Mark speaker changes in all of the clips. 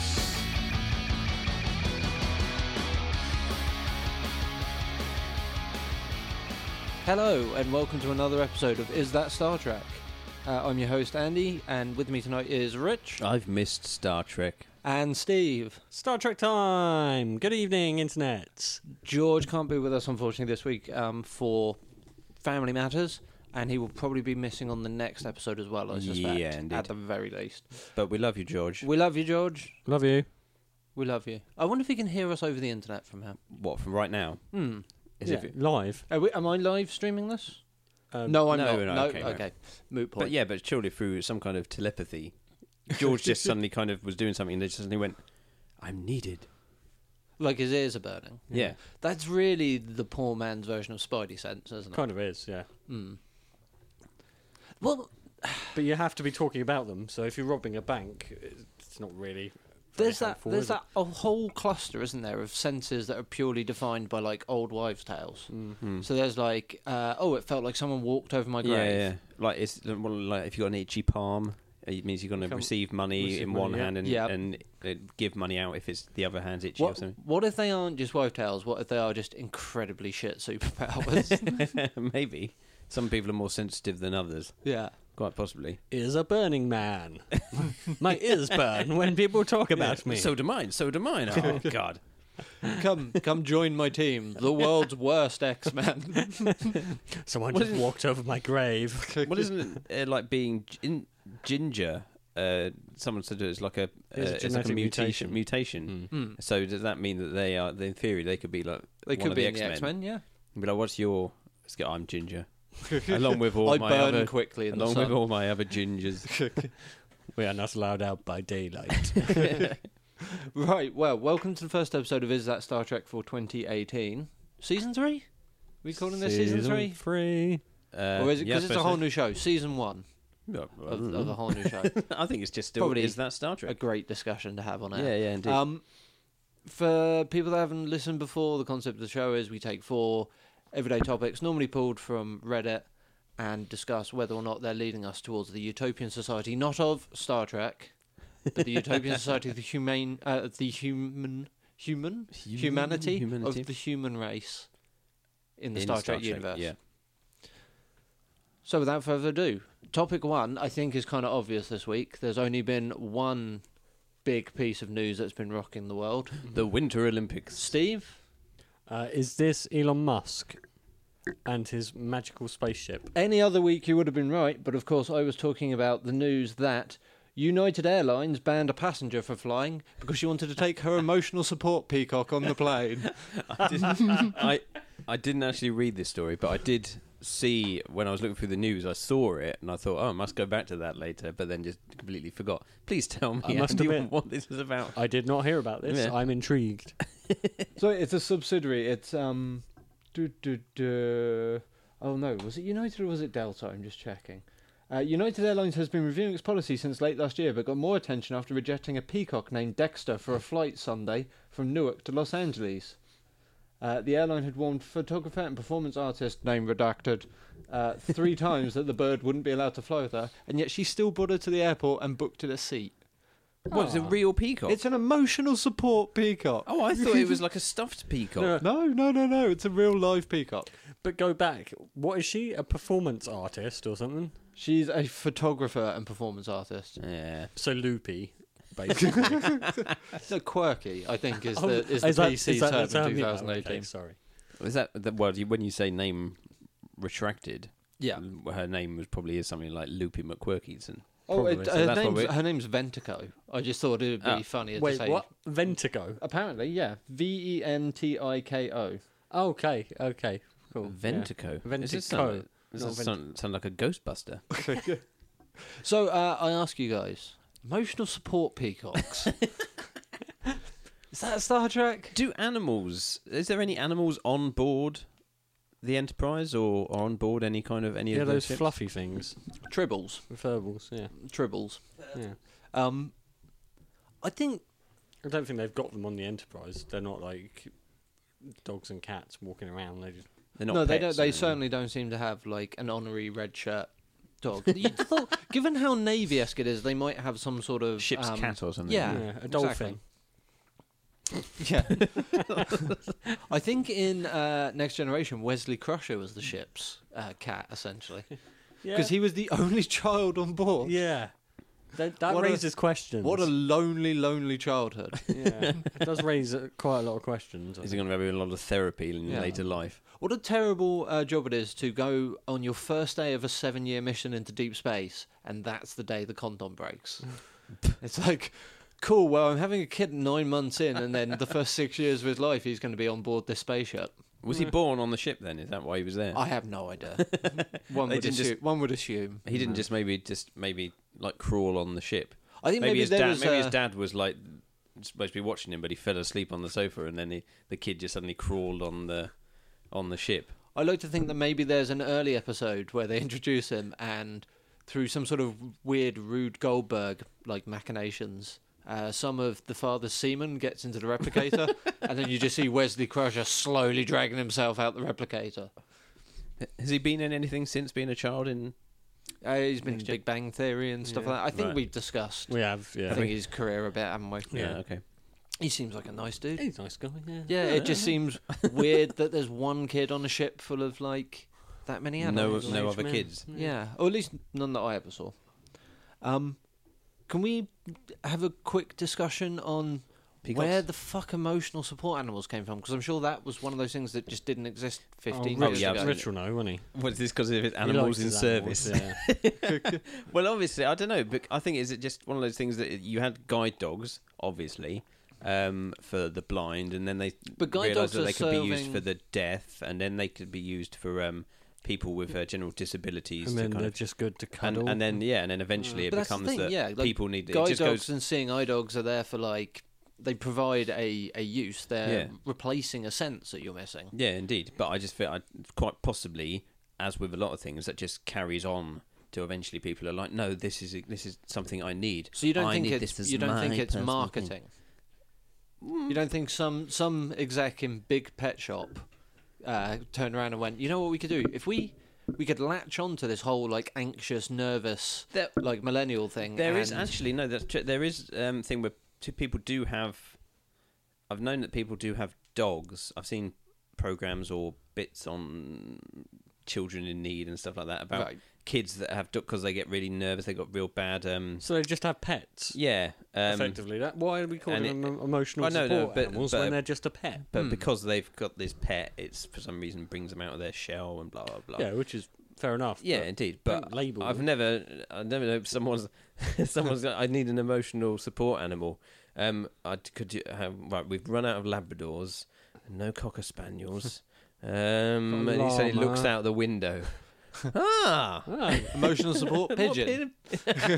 Speaker 1: Space.
Speaker 2: Hello, and welcome to another episode of Is That Star Trek? Uh, I'm your host, Andy, and with me tonight is Rich
Speaker 3: I've missed Star Trek.
Speaker 2: and Steve.
Speaker 1: Star Trek time. Good evening, internet.
Speaker 2: George can't be with us, unfortunately, this week um, for family matters, and he will probably be missing on the next episode as well, I suspect.
Speaker 3: Yeah, indeed.
Speaker 2: At the very least.
Speaker 3: But we love you, George.
Speaker 2: We love you, George.
Speaker 1: Love you.
Speaker 2: We love you. I wonder if he can hear us over the internet from here.
Speaker 3: What, from right now?
Speaker 2: Hmm.
Speaker 3: Is
Speaker 1: yeah.
Speaker 3: it,
Speaker 1: live?
Speaker 2: Are we, am I live streaming this?
Speaker 1: Um,
Speaker 2: No, I'm
Speaker 3: no,
Speaker 2: not.
Speaker 3: we're not.
Speaker 2: No,
Speaker 3: Okay, no.
Speaker 2: Moot point.
Speaker 3: but yeah, but surely through some kind of telepathy. George just suddenly kind of was doing something and they just suddenly went, I'm needed.
Speaker 2: Like his ears are burning.
Speaker 3: Yeah.
Speaker 2: That's really the poor man's version of Spidey sense, isn't it?
Speaker 1: Kind of is, yeah.
Speaker 2: Mm. Well,
Speaker 1: But you have to be talking about them. So if you're robbing a bank, it's not really. very
Speaker 2: there's that
Speaker 1: helpful,
Speaker 2: there's
Speaker 1: is it?
Speaker 2: that a whole cluster, isn't there, of senses that are purely defined by like old wives' tales.
Speaker 3: Hmm.
Speaker 2: So there's like, uh, oh, it felt like someone walked over my grave.
Speaker 3: Yeah, yeah. Like, it's, well, like if you've got an itchy palm, it means you're going to
Speaker 1: Come-
Speaker 3: receive money
Speaker 1: receive
Speaker 3: in
Speaker 1: money,
Speaker 3: one
Speaker 1: yeah.
Speaker 3: hand and,
Speaker 2: Yeah.
Speaker 3: and uh, give money out if it's the other hand's itchy or
Speaker 2: What,
Speaker 3: something.
Speaker 2: what if they aren't just wife tales? What if they are just incredibly shit superpowers?
Speaker 3: Maybe. Some people are more sensitive than others,
Speaker 2: yeah.
Speaker 3: quite possibly.
Speaker 1: Is a burning man. My ears burn when people talk about me.
Speaker 3: So do mine, so do mine. Oh, God.
Speaker 2: Come, come join my team, the world's worst X Men.
Speaker 1: Someone
Speaker 3: What
Speaker 1: just walked over my grave.
Speaker 3: well, isn't it uh, like being gin- ginger? Uh, someone said it's like a, uh,
Speaker 1: It's a
Speaker 3: it's like a
Speaker 1: genetic
Speaker 3: mutation.
Speaker 1: mutation. Hmm.
Speaker 3: Mutation.
Speaker 2: Mm.
Speaker 3: So does that mean that they are? In theory, they could be like
Speaker 2: They
Speaker 3: one
Speaker 2: could
Speaker 3: of
Speaker 2: be
Speaker 3: the
Speaker 2: in the X Men, yeah.
Speaker 3: But like, what's your? Let's get. I'm ginger, along with all
Speaker 2: I
Speaker 3: my
Speaker 2: burn
Speaker 3: other,
Speaker 2: quickly in the
Speaker 3: along
Speaker 2: sun.
Speaker 3: with all my other gingers. Uh,
Speaker 1: We are not allowed out by daylight.
Speaker 2: Right, well, welcome to the first episode of Is That Star Trek for 2018. Season 3? we calling this season 3?
Speaker 1: Three.
Speaker 3: Uh,
Speaker 2: or is it
Speaker 3: yeah, Mm-hmm. I
Speaker 2: because it's a
Speaker 3: suppose
Speaker 2: whole
Speaker 3: so.
Speaker 2: new show? Season 1
Speaker 3: No, I
Speaker 2: of,
Speaker 3: don't
Speaker 2: of a
Speaker 3: know.
Speaker 2: whole new show.
Speaker 3: I think it's just still.
Speaker 2: Probably
Speaker 3: is that Star
Speaker 2: a
Speaker 3: Trek?
Speaker 2: great discussion to have on
Speaker 3: yeah,
Speaker 2: air.
Speaker 3: yeah, indeed.
Speaker 2: um, for people that haven't listened before, the concept of the show is we take four everyday topics, normally pulled from Reddit, and discuss whether or not they're leading us towards the utopian society, not of Star Trek, but the utopian society of the humane, uh, the human, human,
Speaker 3: Human-
Speaker 2: humanity,
Speaker 3: humanity.
Speaker 2: of the human race in the
Speaker 3: In
Speaker 2: Star, Trek, universe.
Speaker 3: Yeah.
Speaker 2: So without further ado, topic one I think is kind of obvious this week. There's only been one big piece of news that's been rocking the world.
Speaker 3: The Winter Olympics.
Speaker 2: Steve,
Speaker 1: Uh, is this Elon Musk and his magical spaceship?
Speaker 2: any other week you would have been right, but of course I was talking about the news that United Airlines banned a passenger for flying because she wanted to take her emotional support peacock on the plane.
Speaker 3: I didn't- I I didn't actually read this story, but I did see when I was looking through the news. I saw it and I thought, oh, I must go back to that later, but then just completely forgot. Please tell me
Speaker 1: I must
Speaker 3: Andy,
Speaker 1: admit-
Speaker 3: what this is about.
Speaker 1: I did not hear about this.
Speaker 3: Yeah.
Speaker 1: I'm intrigued.
Speaker 2: So it's a subsidiary. It's um, do do do. Oh no, was it United or was it Delta? I'm just checking. Uh, United Airlines has been reviewing its policy since late last year, but got more attention after rejecting a peacock named Dexter for a flight Sunday from Newark to Los Angeles. Uh, the airline had warned photographer and performance artist, name redacted, uh, three times that the bird wouldn't be allowed to fly with her, and yet she still brought her to the airport and booked it a seat.
Speaker 3: What is a real peacock?
Speaker 2: It's an emotional support peacock.
Speaker 3: oh, I thought it was like a stuffed peacock.
Speaker 1: No.
Speaker 2: No, no, no, no. It's a real live peacock.
Speaker 1: But go back. What is she? A performance artist or something?
Speaker 2: She's a photographer and performance artist.
Speaker 3: Yeah.
Speaker 1: So loopy, basically.
Speaker 2: No, quirky, I think, is
Speaker 1: Oh,
Speaker 2: the, is the
Speaker 1: that-
Speaker 2: PC
Speaker 1: that the
Speaker 2: term, in
Speaker 1: you- oh,
Speaker 2: 2018.
Speaker 1: okay, sorry.
Speaker 3: Is that the, well? you- When you say name retracted,
Speaker 2: Yeah.
Speaker 3: l- her name was probably is something like Loopy McQuirkinson.
Speaker 2: Oh, it,
Speaker 3: Probably, so
Speaker 2: her,
Speaker 3: that's what
Speaker 2: name's,
Speaker 3: we-
Speaker 2: her name's Ventico. I just thought it would be
Speaker 3: Ah.
Speaker 2: funnier
Speaker 1: Wait,
Speaker 2: to say.
Speaker 1: what? Ventico.
Speaker 2: Apparently, yeah. V E N T I K O.
Speaker 1: Oh, Okay, okay, cool. yeah.
Speaker 3: Ventico. Does this
Speaker 1: Ventico.
Speaker 3: sound like, does
Speaker 1: Not
Speaker 3: this sound, sound like a Ghostbuster?
Speaker 2: So uh, I ask you guys emotional support peacocks. is that Star Trek?
Speaker 3: Do animals? Is there any animals on board the Enterprise or, or on board any kind of any
Speaker 1: Yeah,
Speaker 3: of those,
Speaker 1: those
Speaker 3: ships?
Speaker 1: fluffy things.
Speaker 2: Tribbles.
Speaker 1: Referbles, yeah.
Speaker 2: Tribbles.
Speaker 1: yeah.
Speaker 2: Um, I think.
Speaker 1: I don't think they've got them on the Enterprise. They're not like dogs and cats walking around. They just
Speaker 3: They're not
Speaker 2: no, they
Speaker 3: pets,
Speaker 2: don't. They
Speaker 3: are
Speaker 2: certainly don't seem to have like an honorary red shirt dog. You thought, given how navy-esque it is, they might have some sort of
Speaker 3: Ship's
Speaker 2: um,
Speaker 3: cat or something.
Speaker 2: yeah.
Speaker 1: yeah, a dolphin.
Speaker 2: Yeah. I think in uh, Next Generation, Wesley Crusher was the ship's uh, cat, essentially. Because he was the only child on board.
Speaker 1: Yeah. That, that
Speaker 2: What a-
Speaker 1: raises questions.
Speaker 2: What a lonely, lonely childhood.
Speaker 1: yeah. It does raise uh, quite a lot of questions. I
Speaker 3: Is he
Speaker 1: think.
Speaker 3: going to have a lot of therapy in
Speaker 2: Yeah.
Speaker 3: later life?
Speaker 2: What a terrible uh, job it is to go on your first day of a seven year mission into deep space, and that's the day the condom breaks. it's like, cool, well, I'm having a kid nine months in, and then the first six years of his life, he's going to be on board this spaceship.
Speaker 3: Was he born on the ship then? Is that why he was there?
Speaker 2: I have no idea. one,
Speaker 3: They
Speaker 2: would
Speaker 3: didn't
Speaker 2: assume,
Speaker 3: just-
Speaker 2: one would assume.
Speaker 3: he didn't just maybe just maybe like crawl on the ship.
Speaker 2: I think
Speaker 3: Maybe,
Speaker 2: maybe,
Speaker 3: his
Speaker 2: there
Speaker 3: dad
Speaker 2: was
Speaker 3: maybe
Speaker 2: a-
Speaker 3: his dad was like supposed to be watching him, but he fell asleep on the sofa, and then he, the kid just suddenly crawled on the on the ship.
Speaker 2: I like to think that maybe there's an early episode where they introduce him, and through some sort of weird Rude Goldberg like machinations, uh, some of the father's semen gets into the replicator, and then you just see Wesley Crusher slowly dragging himself out the replicator.
Speaker 3: Has he been in anything since being a child? In
Speaker 2: Uh, he's been in
Speaker 3: Next gen-
Speaker 2: Big Bang Theory and stuff
Speaker 1: Yeah.
Speaker 2: like that. I think
Speaker 3: Right.
Speaker 2: we've discussed.
Speaker 1: We have, yeah.
Speaker 2: I think his career a bit, haven't we?
Speaker 1: Yeah.
Speaker 3: okay.
Speaker 2: He seems like a nice dude.
Speaker 1: He's a nice guy, yeah.
Speaker 2: Yeah, it just seems weird that there's one kid on a ship full of like that many
Speaker 3: no,
Speaker 2: adults.
Speaker 3: no
Speaker 1: Middle-aged
Speaker 3: other
Speaker 1: man.
Speaker 3: kids.
Speaker 2: Yeah, or at least none that I ever saw. Um, can we have a quick discussion on
Speaker 3: Peacocks?
Speaker 2: where the fuck emotional support animals came from? Because I'm sure that was one of those things that just didn't exist 15
Speaker 1: oh,
Speaker 2: years
Speaker 1: Rich,
Speaker 3: yeah,
Speaker 2: ago.
Speaker 1: Rich will know, won't he?
Speaker 3: Was this because of his
Speaker 1: He
Speaker 3: animals
Speaker 1: likes
Speaker 3: in
Speaker 1: his
Speaker 3: service?
Speaker 1: animals, yeah.
Speaker 3: Well, obviously, I don't know, but I think is it just one of those things that you had guide dogs, obviously, um, for the blind, and then they
Speaker 2: But guide
Speaker 3: realised
Speaker 2: dogs
Speaker 3: that
Speaker 2: are
Speaker 3: they could be used
Speaker 2: serving-
Speaker 3: for the deaf, and then they could be used for um, people with uh, general disabilities.
Speaker 1: and
Speaker 3: to
Speaker 1: then
Speaker 3: kind
Speaker 1: they're
Speaker 3: of,
Speaker 1: just good to
Speaker 3: and,
Speaker 1: cuddle.
Speaker 3: and then yeah, and then eventually
Speaker 2: Mm. But
Speaker 3: it
Speaker 2: that's the
Speaker 3: becomes
Speaker 2: thing,
Speaker 3: that
Speaker 2: yeah, like,
Speaker 3: people need it
Speaker 2: Guide
Speaker 3: just
Speaker 2: dogs
Speaker 3: goes
Speaker 2: and seeing eye dogs are there for like they provide a, a use. They're
Speaker 3: Yeah.
Speaker 2: replacing a sense that you're missing.
Speaker 3: yeah, indeed. But I just feel I, quite possibly, as with a lot of things, that just carries on. To eventually, people are like, "No, this is this is something I need."
Speaker 2: So you don't
Speaker 3: I
Speaker 2: think
Speaker 3: need
Speaker 2: it's
Speaker 3: this as
Speaker 2: you don't
Speaker 3: my
Speaker 2: think it's
Speaker 3: personal thing."
Speaker 2: marketing. You don't think some some exec in big pet shop uh, turned around and went, you know what we could do if we we could latch onto this whole like anxious, nervous,
Speaker 3: There-
Speaker 2: like millennial thing.
Speaker 3: There is
Speaker 2: and-
Speaker 3: actually no. That's true. There is um thing where two people do have. I've known that people do have dogs. I've seen programs or bits on children in need and stuff like that about
Speaker 2: Right.
Speaker 3: kids that have dogs because they get really nervous. They got real bad. Um,
Speaker 1: so they just have pets,
Speaker 3: yeah. Um,
Speaker 1: effectively. That Why are we
Speaker 3: and
Speaker 1: calling
Speaker 3: it-
Speaker 1: them em- emotional
Speaker 3: I know, no,
Speaker 1: support
Speaker 3: but-
Speaker 1: animals
Speaker 3: but-
Speaker 1: when they're just a pet?
Speaker 3: but
Speaker 2: Hmm.
Speaker 3: because they've got this pet, it's for some reason brings them out of their shell and blah blah blah.
Speaker 1: Yeah, which is fair enough.
Speaker 3: Yeah,
Speaker 1: but
Speaker 3: indeed.
Speaker 1: don't
Speaker 3: But
Speaker 1: label
Speaker 3: I've
Speaker 1: them.
Speaker 3: never, I never know if someone's, someone's. I need an emotional support animal. Um, I could you have right. We've run out of Labradors, no cocker spaniels. Um,
Speaker 1: Got a
Speaker 3: and he suddenly
Speaker 1: llama.
Speaker 3: looks out the window. ah,
Speaker 1: Ah,
Speaker 2: emotional support pigeon.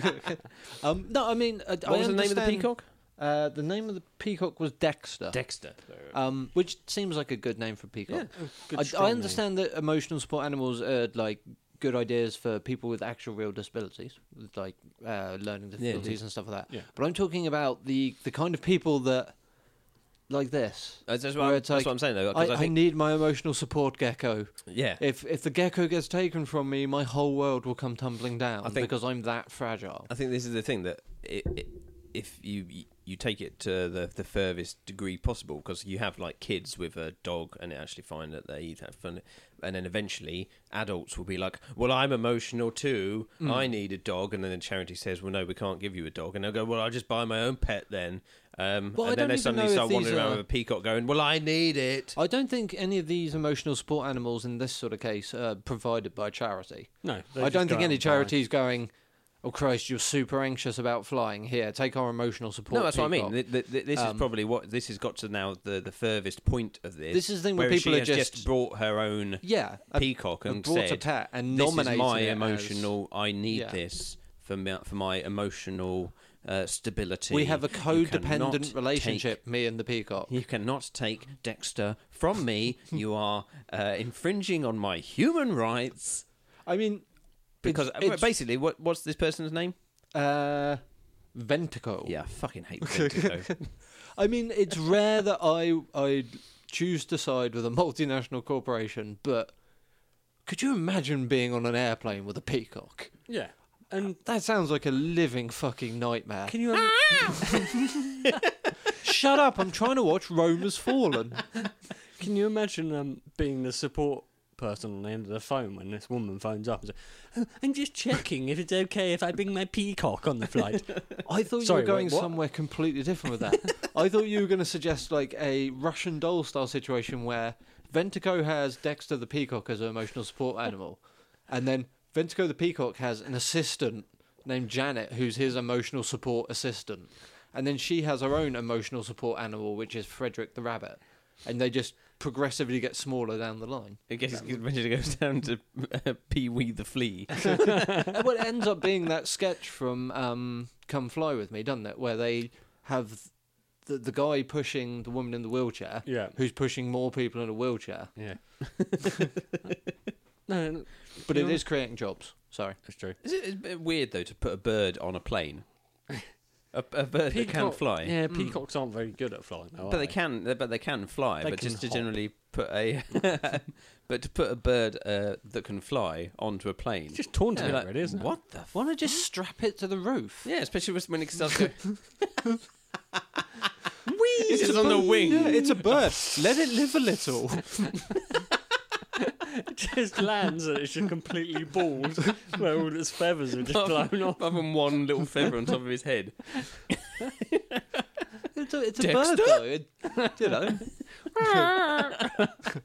Speaker 2: um, no, I mean, uh,
Speaker 3: what
Speaker 2: I
Speaker 3: was the name of the
Speaker 2: understand-
Speaker 3: peacock?
Speaker 2: Uh, the name of the peacock was Dexter,
Speaker 3: Dexter.
Speaker 2: um, which seems like a good name for a peacock.
Speaker 3: Yeah.
Speaker 1: good
Speaker 2: I,
Speaker 1: strong
Speaker 2: I
Speaker 1: name.
Speaker 2: understand that emotional support animals are like good ideas for people with actual real disabilities, with, like uh, learning difficulties and stuff like that.
Speaker 1: Yeah.
Speaker 2: But I'm talking about the the kind of people that like this.
Speaker 3: That's, that's, what,
Speaker 2: Where
Speaker 3: I'm,
Speaker 2: it's
Speaker 3: that's
Speaker 2: like,
Speaker 3: what I'm saying though.
Speaker 2: I,
Speaker 3: 'cause I,
Speaker 2: I
Speaker 3: think,
Speaker 2: need my emotional support gecko.
Speaker 3: yeah,
Speaker 2: If if the gecko gets taken from me, my whole world will come tumbling down
Speaker 3: I think-
Speaker 2: because I'm that fragile.
Speaker 3: I think this is the thing that it, it, if you you take it to the the furthest degree possible, because you have like kids with a dog, and they actually find that they eat that fun, and then eventually adults will be like, "Well, I'm emotional too.
Speaker 2: Mm.
Speaker 3: I need a dog," and then the charity says, "Well, no, we can't give you a dog," and they'll go, "Well, I'll just buy my own pet then." Um,
Speaker 2: Well, I
Speaker 3: and then
Speaker 2: don't
Speaker 3: they
Speaker 2: even
Speaker 3: suddenly
Speaker 2: know if
Speaker 3: start
Speaker 2: these
Speaker 3: wandering around
Speaker 2: are- Oh,
Speaker 3: with a peacock, going, "Well, I need it."
Speaker 2: I don't think any of these emotional support animals in this sort of case are provided by charity.
Speaker 1: No, they
Speaker 2: I
Speaker 1: just
Speaker 2: don't
Speaker 1: go
Speaker 2: think
Speaker 1: out
Speaker 2: any
Speaker 1: and buy.
Speaker 2: charity's going. Oh Christ! You're super anxious about flying. Here, take our emotional support.
Speaker 3: No, that's what I mean.
Speaker 2: peacock."
Speaker 3: Th th th this
Speaker 2: Um,
Speaker 3: is probably what this has got to now the, the furthest point of this.
Speaker 2: This is the thing where
Speaker 3: whereas
Speaker 2: people
Speaker 3: she
Speaker 2: are
Speaker 3: has
Speaker 2: just-
Speaker 3: brought her own
Speaker 2: yeah, a,
Speaker 3: peacock
Speaker 2: a
Speaker 3: and
Speaker 2: brought a
Speaker 3: said,
Speaker 2: pet and
Speaker 3: this
Speaker 2: nominated
Speaker 3: is my
Speaker 2: it as-
Speaker 3: emotional. I need
Speaker 2: Yeah.
Speaker 3: this for my, for my emotional uh, stability.
Speaker 2: We have a
Speaker 3: You cannot
Speaker 2: codependent
Speaker 3: take-
Speaker 2: relationship, me and the peacock.
Speaker 3: you cannot take Dexter from me. you are uh, infringing on my human rights
Speaker 4: I mean,
Speaker 3: because uh,
Speaker 2: It's- it's-
Speaker 3: basically, what what's this person's name?
Speaker 2: Uh, Ventico.
Speaker 3: Yeah, I fucking hate Ventico.
Speaker 2: I mean, it's rare that I I choose to side with a multinational corporation, but could you imagine being on an airplane with a peacock?
Speaker 1: Yeah. And
Speaker 3: Ah,
Speaker 2: That sounds like a living fucking nightmare.
Speaker 1: can you? im-
Speaker 2: Shut up! I'm trying to watch Rome Has Fallen.
Speaker 1: Can you imagine um, being the support person on the end of the phone when this woman phones up and says, oh, "I'm just checking if it's okay if I bring my peacock on the flight."
Speaker 2: I thought
Speaker 1: Sorry,
Speaker 2: you
Speaker 1: wait,
Speaker 2: were going
Speaker 1: what?
Speaker 2: somewhere completely different with that. I thought you were going to suggest like a Russian doll style situation where Ventico has Dexter the peacock as an emotional support animal, and then Ventico the peacock has an assistant named Janet who's his emotional support assistant, and then she has her own emotional support animal which is Frederick the rabbit, and they just progressively get smaller down the line.
Speaker 3: I guess it eventually goes down to uh, Pee Wee the Flea.
Speaker 2: Uh, well, it ends up being that sketch from um, Come Fly With Me, doesn't it? Where they have the, the guy pushing the woman in the wheelchair,
Speaker 1: yeah.
Speaker 2: who's pushing more people in a wheelchair.
Speaker 1: Yeah. no, no,
Speaker 2: But it
Speaker 1: Yeah.
Speaker 2: is creating jobs. Sorry.
Speaker 1: that's true.
Speaker 3: Is it a bit weird though to put a bird on a plane? A, a bird that can
Speaker 1: Peacock-
Speaker 3: fly,
Speaker 1: Yeah,
Speaker 2: Mm.
Speaker 1: peacocks aren't very good at flying, though,
Speaker 3: but
Speaker 1: are
Speaker 3: they can, but they can fly.
Speaker 1: Oh, They
Speaker 3: but
Speaker 1: can
Speaker 3: just to
Speaker 1: hop.
Speaker 3: generally put a, but to put a bird uh, that can fly onto a plane.
Speaker 1: It's just taunting
Speaker 3: Be
Speaker 1: yeah,
Speaker 3: like,
Speaker 1: already, isn't
Speaker 3: what the? F-?
Speaker 2: Why not just strap it to the roof?
Speaker 3: Yeah, especially when it starts going.
Speaker 2: Whee!
Speaker 3: It's just on the wing.
Speaker 2: Yeah, it's a bird. Let it live a little.
Speaker 1: it? just lands and it's just completely bald, where all its feathers are just
Speaker 3: Apart
Speaker 1: blown off.
Speaker 3: Other than one little feather on top of his head.
Speaker 2: It's a, it's a
Speaker 3: Dexter?
Speaker 2: bird, though. It, you know.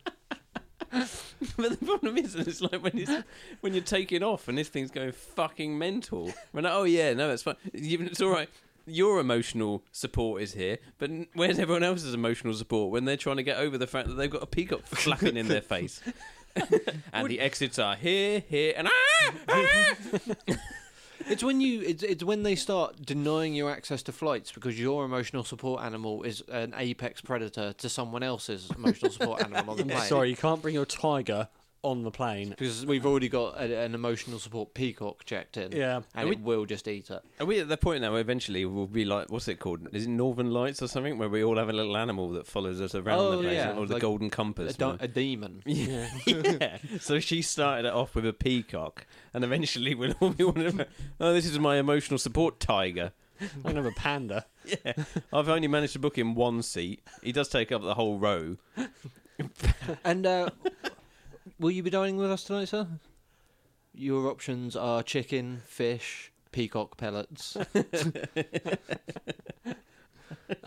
Speaker 3: But the problem is, it's like when it's, when you're taking off and this thing's going fucking mental. When oh yeah, no, that's fine. Even it's all right. Your emotional support is here, but n- where's everyone else's emotional support when they're trying to get over the fact that they've got a peacock flapping in their face? and the exits are here, here, and ah!
Speaker 2: It's when you it's, it's when they start denying you access to flights because your emotional support animal is an apex predator to someone else's emotional support animal on the plane.
Speaker 1: Sorry, you can't bring your tiger on the plane.
Speaker 2: Because we've already got a, an emotional support peacock checked in.
Speaker 1: Yeah.
Speaker 2: And
Speaker 3: Are
Speaker 2: it will just eat it.
Speaker 3: Are we at the point now where eventually we'll be like, what's it called? Is it Northern Lights or something? Where we all have a little animal that follows us around
Speaker 2: Oh,
Speaker 3: the place,
Speaker 2: yeah,
Speaker 3: or the
Speaker 2: like
Speaker 3: Golden
Speaker 2: A,
Speaker 3: Compass.
Speaker 2: di- a demon.
Speaker 3: Yeah. yeah. So she started it off with a peacock, and eventually we'll all be wondering, oh, this is my emotional support tiger.
Speaker 1: I'm gonna have a panda.
Speaker 3: Yeah. I've only managed to book him one seat. He does take up the whole row.
Speaker 2: and uh, will you be dining with us tonight, sir? Your options are chicken, fish, peacock pellets.
Speaker 1: Oh,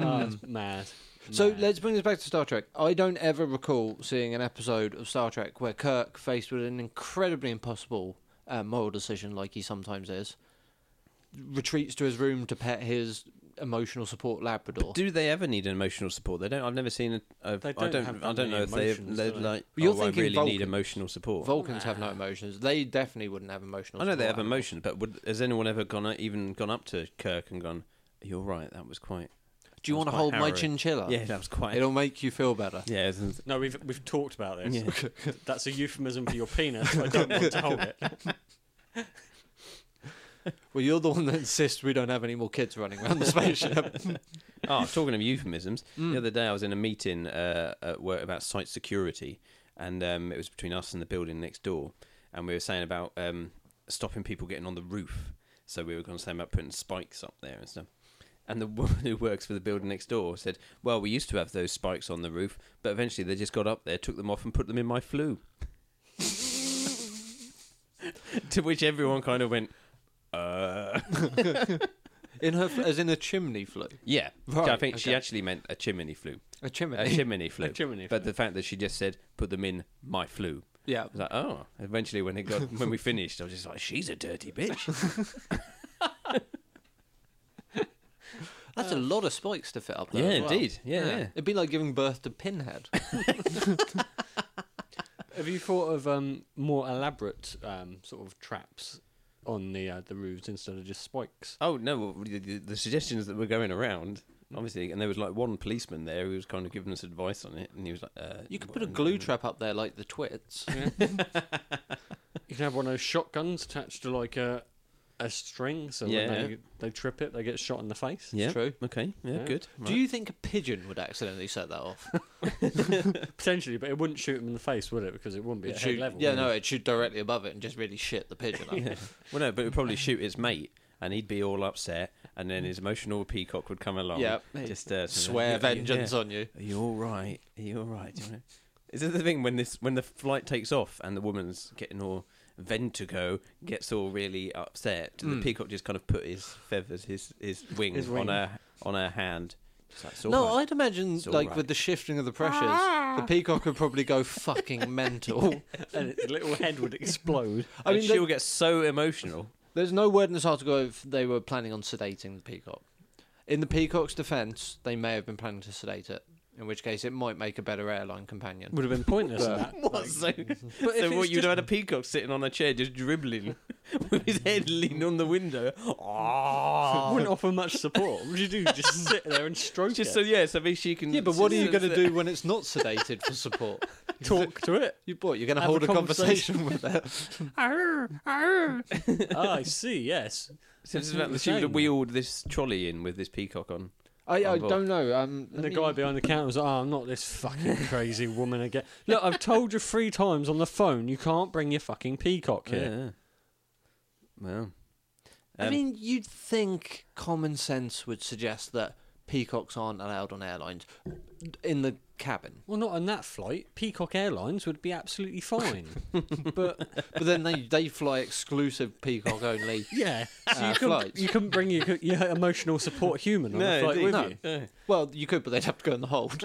Speaker 2: Mm.
Speaker 1: that's mad.
Speaker 2: So
Speaker 1: Mad.
Speaker 2: let's bring this back to Star Trek. I don't ever recall seeing an episode of Star Trek where Kirk, faced with an incredibly impossible uh, moral decision, like he sometimes is, retreats to his room to pet his emotional support Labrador.
Speaker 3: Do they ever need an emotional support? They don't. I've never seen. A, a,
Speaker 1: They
Speaker 3: I
Speaker 1: don't
Speaker 3: don't.
Speaker 1: have
Speaker 3: I
Speaker 1: that
Speaker 3: don't
Speaker 1: many
Speaker 3: know if they,
Speaker 1: emotions,
Speaker 3: they
Speaker 1: do they?
Speaker 3: like.
Speaker 2: You're
Speaker 3: oh,
Speaker 2: thinking
Speaker 3: I really need
Speaker 2: Vulcan.
Speaker 3: emotional support.
Speaker 2: Vulcans have no emotions. They definitely wouldn't have emotional.
Speaker 3: I know they
Speaker 2: support
Speaker 3: have
Speaker 2: animals.
Speaker 3: emotions, but would, has anyone ever gone o- even gone up to Kirk and gone? You're right. That was quite.
Speaker 2: Do you
Speaker 3: That's
Speaker 2: want to
Speaker 3: quite
Speaker 2: hold my
Speaker 3: harrowing.
Speaker 2: chinchilla?
Speaker 3: Yeah, that was quite.
Speaker 2: It'll make you feel better.
Speaker 3: yeah, it was-
Speaker 1: No, we've we've talked about this.
Speaker 3: yeah.
Speaker 1: That's a euphemism for your penis. I don't want to hold it.
Speaker 2: Well, you're the one that insists we don't have any more kids running around the spaceship.
Speaker 3: Oh, talking of euphemisms,
Speaker 2: Hmm. Mm.
Speaker 3: the other day I was in a meeting uh, at work about site security, and um, it was between us and the building next door, and we were saying about um, stopping people getting on the roof. So we were going to say about putting spikes up there and stuff. And the woman who works for the building next door said, "Well, we used to have those spikes on the roof, but eventually they just got up there, took them off, and put them in my flue." to which everyone kind of went, "Uh."
Speaker 2: in her, as in a chimney flue.
Speaker 3: Yeah,
Speaker 2: Right,
Speaker 3: I think she
Speaker 2: okay.
Speaker 3: actually meant a chimney flue.
Speaker 2: A chimney.
Speaker 3: A chimney flue.
Speaker 1: chimney
Speaker 3: But
Speaker 1: flue.
Speaker 3: the fact that she just said, put them in my flue.
Speaker 2: yeah.
Speaker 3: I was like, oh. Eventually, when it got when we finished, I was just like, she's a dirty bitch.
Speaker 2: That's a lot of spikes to fit up there.
Speaker 3: yeah,
Speaker 2: as well.
Speaker 3: indeed. Yeah, yeah.
Speaker 2: It'd be like giving birth to Pinhead.
Speaker 1: Have you thought of um, more elaborate um, sort of traps on the uh, the roofs instead of just spikes?
Speaker 3: Oh no, well, the, the- the suggestions that were going around, obviously, and there was like one policeman there who was kind of giving us advice on it, and he was like, uh,
Speaker 2: You could
Speaker 3: what-
Speaker 2: put a glue trap up there like the twits.
Speaker 1: You can have one of those shotguns attached to like a a string, so
Speaker 3: Yeah.
Speaker 1: when they, they trip it, they get shot in the face.
Speaker 3: Yeah.
Speaker 2: true.
Speaker 3: Okay. Yeah.
Speaker 1: Yeah.
Speaker 3: Good.
Speaker 2: Do you think a pigeon would accidentally set that off?
Speaker 1: Potentially, but it wouldn't shoot them in the face, would it? Because it wouldn't be
Speaker 2: It'd
Speaker 1: at
Speaker 2: shoot-
Speaker 1: head level.
Speaker 2: yeah,
Speaker 1: would
Speaker 2: no,
Speaker 1: it?
Speaker 2: it'd shoot directly above it and just really shit the pigeon up.
Speaker 3: Yeah. Well, no, but it would probably shoot its mate, and he'd be all upset, and then his emotional peacock would come along.
Speaker 2: Yeah.
Speaker 3: Just uh,
Speaker 2: Swear
Speaker 3: something like,
Speaker 2: vengeance
Speaker 3: yeah.
Speaker 2: on you.
Speaker 3: Are you all right? Are you all right? Do you wanna- Is it the thing when this when the flight takes off and the woman's getting all ventigo gets all really upset? The peacock just kind of put his feathers, his Hmm. his wing,
Speaker 1: His wing.
Speaker 3: on her on her hand. Just like, "It's all
Speaker 2: No,
Speaker 3: right."
Speaker 2: I'd imagine
Speaker 3: It's all
Speaker 2: like
Speaker 3: right.
Speaker 2: with the shifting of the pressures, the peacock would probably go fucking mental.
Speaker 1: and its little head would explode.
Speaker 4: I
Speaker 3: And
Speaker 4: mean,
Speaker 3: she
Speaker 4: they-
Speaker 3: will get so emotional.
Speaker 2: There's no word in this article if they were planning on sedating the peacock. In the peacock's defence, they may have been planning to sedate it, in which case it might make a better airline companion.
Speaker 1: Would have been pointless. in that.
Speaker 3: What? So,
Speaker 1: if
Speaker 3: so
Speaker 1: it's
Speaker 3: what? You'd
Speaker 1: just-
Speaker 3: have had a peacock sitting on a chair, just dribbling, with his head leaning on the window. Ah.
Speaker 1: Wouldn't offer much support. What would you do? Just sit there and stroke
Speaker 3: just so
Speaker 1: it,
Speaker 3: yeah, so maybe she can.
Speaker 4: Yeah, but what are you going to do?
Speaker 2: when it's not sedated for support?
Speaker 1: talk to it.
Speaker 2: You what? You're going to
Speaker 1: Have a
Speaker 2: hold a conversation, with it.
Speaker 1: Ah, I see. Yes.
Speaker 3: So this is
Speaker 1: That's
Speaker 3: about-
Speaker 1: what
Speaker 3: she would
Speaker 1: I'm
Speaker 3: have wheeled this trolley in with this peacock on.
Speaker 4: I, I
Speaker 3: On board.
Speaker 4: don't know. Um,
Speaker 1: And
Speaker 4: let
Speaker 1: the
Speaker 4: me-
Speaker 1: guy behind the counter was like, "Oh, I'm not this fucking crazy woman again. Look, I've told you three times on the phone you can't bring your fucking peacock here.
Speaker 3: Yeah. Well,
Speaker 2: I
Speaker 3: Um,
Speaker 2: mean, you'd think common sense would suggest that peacocks aren't allowed on airlines in the cabin,
Speaker 1: Well, not on that flight. Peacock Airlines would be absolutely fine. but
Speaker 2: but then they they fly exclusive peacock only.
Speaker 1: yeah, so
Speaker 2: Uh,
Speaker 1: you, couldn't,
Speaker 2: flights.
Speaker 1: you couldn't bring your, your emotional support human on a flight
Speaker 3: indeed.
Speaker 1: with
Speaker 2: no.
Speaker 1: you.
Speaker 3: No.
Speaker 2: Well, you could, but they'd have to go in the hold.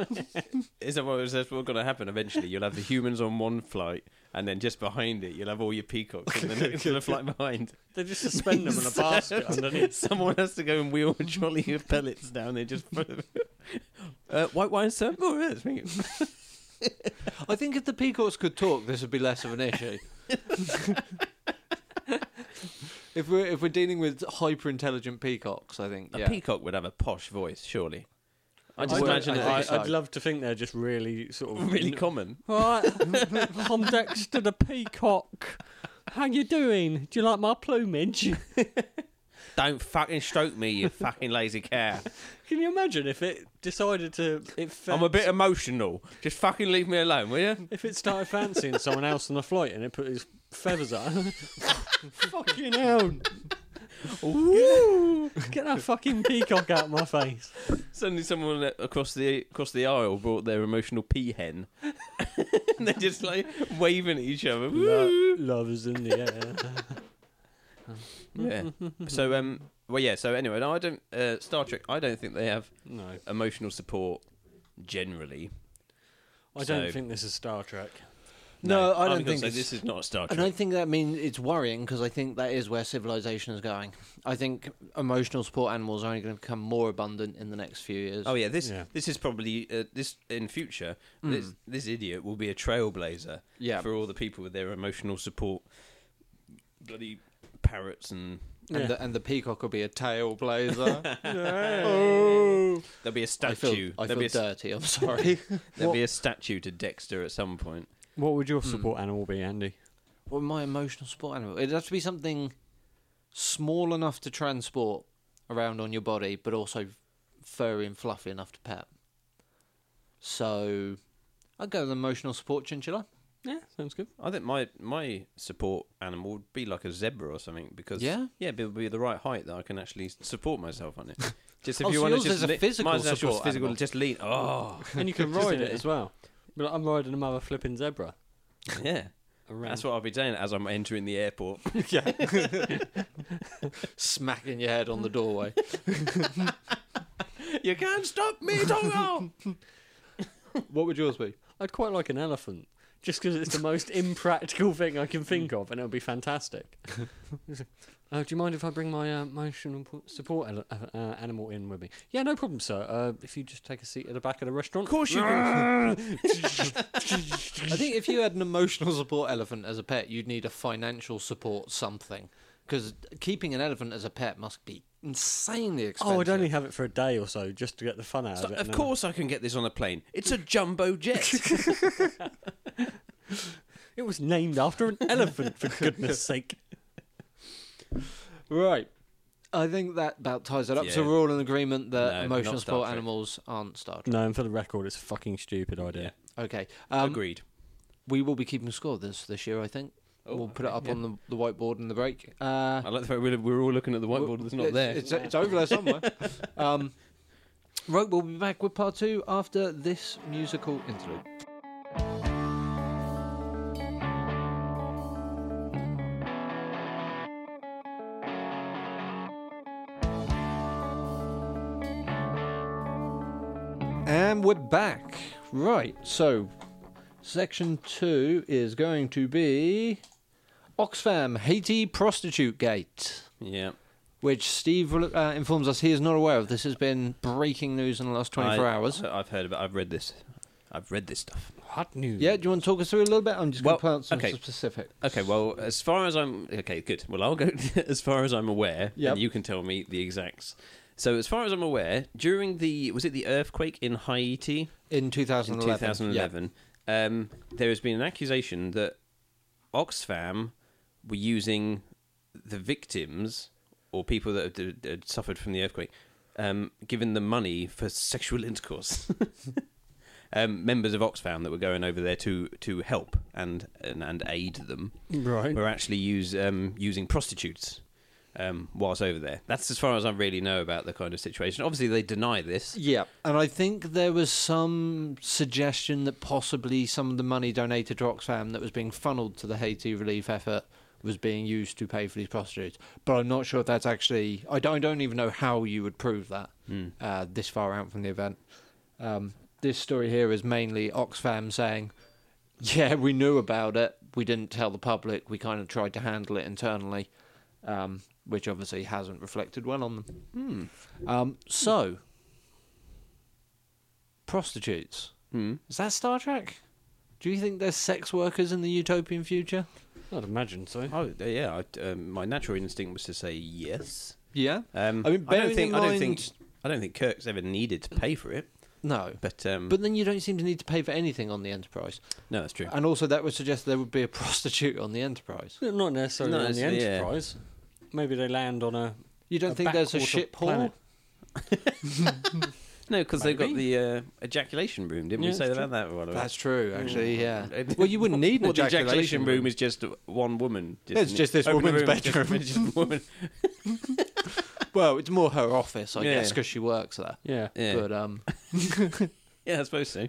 Speaker 3: Is that what is that what's going to happen eventually? You'll have the humans on one flight, and then just behind it, you'll have all your peacocks, and then next to the flight behind.
Speaker 1: They just suspend them in a basket underneath.
Speaker 3: Someone has to go and wheel a trolley of pellets down there just full of. Uh, white wine, sir? Oh, yeah, let's bring it.
Speaker 2: I think if the peacocks could talk, this would be less of an issue. if we're if we're dealing with hyper intelligent peacocks, I think
Speaker 3: A
Speaker 2: yeah.
Speaker 3: peacock would have a posh voice, surely. I just
Speaker 1: don't-
Speaker 3: imagine
Speaker 2: I
Speaker 3: it
Speaker 2: think
Speaker 1: I,
Speaker 2: so.
Speaker 1: I'd love to think they're just really sort of
Speaker 3: really common.
Speaker 1: Right, I'm Dexter the Peacock. How you doing? Do you like my plumage?
Speaker 3: Don't fucking stroke me, you fucking lazy cow.
Speaker 1: Can you imagine if it decided to? It fa-
Speaker 3: I'm a bit emotional. Just fucking leave me alone, will you?
Speaker 1: If it started fancying someone else on the flight and it put its feathers up, fucking hell! Woo! Get that fucking peacock out of my face.
Speaker 3: Suddenly, someone a- across the across the aisle brought their emotional peahen, and they're just like waving at each other. Woo!
Speaker 1: love is in the air.
Speaker 3: Yeah. So, um, well, yeah. So, anyway, no, I don't. Uh, Star Trek. I don't think they have
Speaker 1: No,
Speaker 3: emotional support generally.
Speaker 1: I don't
Speaker 3: So-
Speaker 1: think this is Star Trek.
Speaker 2: No, I
Speaker 3: I'm
Speaker 2: don't
Speaker 3: gonna
Speaker 2: think
Speaker 3: say
Speaker 2: it's-
Speaker 3: this is not Star
Speaker 2: And I
Speaker 3: Trek.
Speaker 2: think that means it's worrying because I think that is where civilization is going. I think emotional support animals are only going to become more abundant in the next few years.
Speaker 3: Oh yeah, this
Speaker 1: Yeah.
Speaker 3: this is probably uh, this in future. This this idiot will be a trailblazer
Speaker 2: Hmm. Yeah.
Speaker 3: for all the people with their emotional support. Bloody parrots and
Speaker 2: and,
Speaker 1: Yeah.
Speaker 2: the, and the peacock will be a tailblazer.
Speaker 3: there'll be a
Speaker 2: I feel,
Speaker 3: statue.
Speaker 2: I
Speaker 3: there'll
Speaker 2: feel
Speaker 3: be a st-
Speaker 2: dirty. I'm sorry.
Speaker 3: There'll be a statue to Dexter at some point.
Speaker 1: What would
Speaker 3: Hmm.
Speaker 1: your support animal be, Andy?
Speaker 2: well, my emotional support animal. It'd have to be something small enough to transport around on your body, but also furry and fluffy enough to pet. So, I'd go with emotional support chinchilla.
Speaker 1: Yeah, sounds good.
Speaker 3: I think my my support animal would be like a zebra or something because
Speaker 2: Yeah?
Speaker 3: yeah, but it would be the right height that I can actually support myself on it. Just if
Speaker 2: Oh,
Speaker 3: you
Speaker 2: so
Speaker 3: want to
Speaker 2: yours
Speaker 3: just
Speaker 2: is a
Speaker 3: le-
Speaker 2: physical
Speaker 3: mine's an actual
Speaker 2: support
Speaker 3: physical,
Speaker 2: animal.
Speaker 3: just lean. Oh
Speaker 1: And you can ride it as well. But I'm riding a mother flipping zebra.
Speaker 3: yeah,
Speaker 1: Around.
Speaker 3: that's what I'll be doing as I'm entering the airport.
Speaker 2: Smacking your head on the doorway.
Speaker 3: you can't stop me, Tongo.
Speaker 4: What would yours be?
Speaker 1: I'd quite like an elephant, just because it's the most impractical thing I can think of, and it would be fantastic. uh, do you mind if I bring my uh, emotional po- support ele- uh, uh, animal in with me? Yeah, no problem, sir. Uh, if you just take a seat at the back of the restaurant.
Speaker 3: of course you do.
Speaker 2: I think if you had an emotional support elephant as a pet, you'd need a financial support something. Because keeping an elephant as a pet must be insanely expensive.
Speaker 1: Oh, I'd only have it for a day or so, just to get the fun out
Speaker 3: So,
Speaker 1: of it.
Speaker 3: of
Speaker 1: and then-
Speaker 3: course I can get this on a plane. It's a jumbo jet.
Speaker 1: it was named after an elephant, for goodness' sake.
Speaker 4: Right.
Speaker 2: I think that about ties it up. So
Speaker 3: Yeah.
Speaker 2: we're all in agreement that
Speaker 3: No,
Speaker 2: emotional
Speaker 3: not Star
Speaker 2: support
Speaker 3: Trek.
Speaker 2: animals aren't Star Trek.
Speaker 1: No, and for the record, it's a fucking stupid idea.
Speaker 2: Okay. Um,
Speaker 3: Agreed.
Speaker 2: We will be keeping score this this year, I think.
Speaker 3: Oh,
Speaker 2: we'll put it
Speaker 3: okay,
Speaker 2: up
Speaker 3: yeah.
Speaker 2: on the, the whiteboard in the break. Uh,
Speaker 3: I like the fact we're, we're all looking at the whiteboard that's not
Speaker 2: it's,
Speaker 3: there.
Speaker 2: It's, it's over there somewhere. um, right, we'll be back with part two after this musical interlude. And we're back. Right, so section two is going to be Oxfam Haiti Prostitute Gate
Speaker 3: yeah.
Speaker 2: which Steve uh, informs us he is not aware of. This has been breaking news in the last 24
Speaker 3: I-
Speaker 2: hours.
Speaker 3: I've heard about. I've read this. I've read this stuff.
Speaker 1: Hot news.
Speaker 2: Yeah, do you want to talk us through a little bit? I'm just going
Speaker 3: Well,
Speaker 2: to pull out some
Speaker 3: okay.
Speaker 2: specific.
Speaker 3: Okay, well, as far as I'm okay, good. Well, I'll go as far as I'm aware,
Speaker 4: Yep.
Speaker 3: and you can tell me the exacts. So, as far as I'm aware, during the was it the earthquake in Haiti
Speaker 2: In
Speaker 3: in
Speaker 2: 2011.
Speaker 3: 2011, um, there has been an accusation that Oxfam were using the victims or people that had, had- had suffered from the earthquake, um, giving them money for sexual intercourse. um, members of Oxfam that were going over there to to help and and, and aid them
Speaker 1: Right.
Speaker 3: were actually use um, using prostitutes um, whilst over there. That's as far as I really know about the kind of situation. Obviously, they deny this.
Speaker 2: Yeah. And I think there was some suggestion that possibly some of the money donated to Oxfam that was being funneled to the Haiti relief effort was being used to pay for these prostitutes. But I'm not sure if that's actually. I don't, I don't even know how you would prove that uh, this far out from the event. Um, this story here is mainly Oxfam saying, yeah, we knew about it. We didn't tell the public. We kind of tried to handle it internally, um, which obviously hasn't reflected well on them. Um, so, prostitutes.
Speaker 3: Hmm.
Speaker 2: Is that Star Trek? Do you think there's sex workers in the utopian future?
Speaker 1: I'd imagine so.
Speaker 3: Oh yeah, I, um, my natural instinct was to say yes.
Speaker 2: Yeah.
Speaker 3: Um,
Speaker 2: I
Speaker 3: I
Speaker 2: mean,
Speaker 3: mean, I
Speaker 2: bearing
Speaker 3: don't think
Speaker 2: in
Speaker 3: I don't think
Speaker 2: mind-
Speaker 3: I don't think Kirk's ever needed to pay for it,
Speaker 2: No.
Speaker 3: but um,
Speaker 2: But then you don't seem to need to pay for anything on the Enterprise.
Speaker 3: no, that's true.
Speaker 2: And also, that would suggest there would be a prostitute on the Enterprise.
Speaker 1: Not necessarily
Speaker 3: No,
Speaker 1: on the
Speaker 3: it's- yeah.
Speaker 1: Enterprise. Maybe they land on a.
Speaker 2: You don't
Speaker 1: a
Speaker 2: think there's a
Speaker 1: backwater
Speaker 2: ship
Speaker 1: planet.
Speaker 2: hall?
Speaker 3: No, because they've got
Speaker 1: Maybe.
Speaker 3: the uh, ejaculation room. Didn't
Speaker 1: Yeah,
Speaker 3: we say
Speaker 1: that's
Speaker 3: about that? One
Speaker 2: That's true, actually, yeah.
Speaker 3: Uh,
Speaker 2: Well, you wouldn't need an
Speaker 3: well, the
Speaker 2: ejaculation,
Speaker 3: room. is just one woman.
Speaker 2: It's just this
Speaker 3: open the
Speaker 2: woman's
Speaker 3: room, just-
Speaker 2: bedroom.
Speaker 3: just woman.
Speaker 2: Well, it's more her office, I guess, 'cause
Speaker 3: Yeah.
Speaker 2: guess, because she works there.
Speaker 1: Yeah.
Speaker 3: Yeah.
Speaker 2: But um,
Speaker 3: Yeah, I suppose so.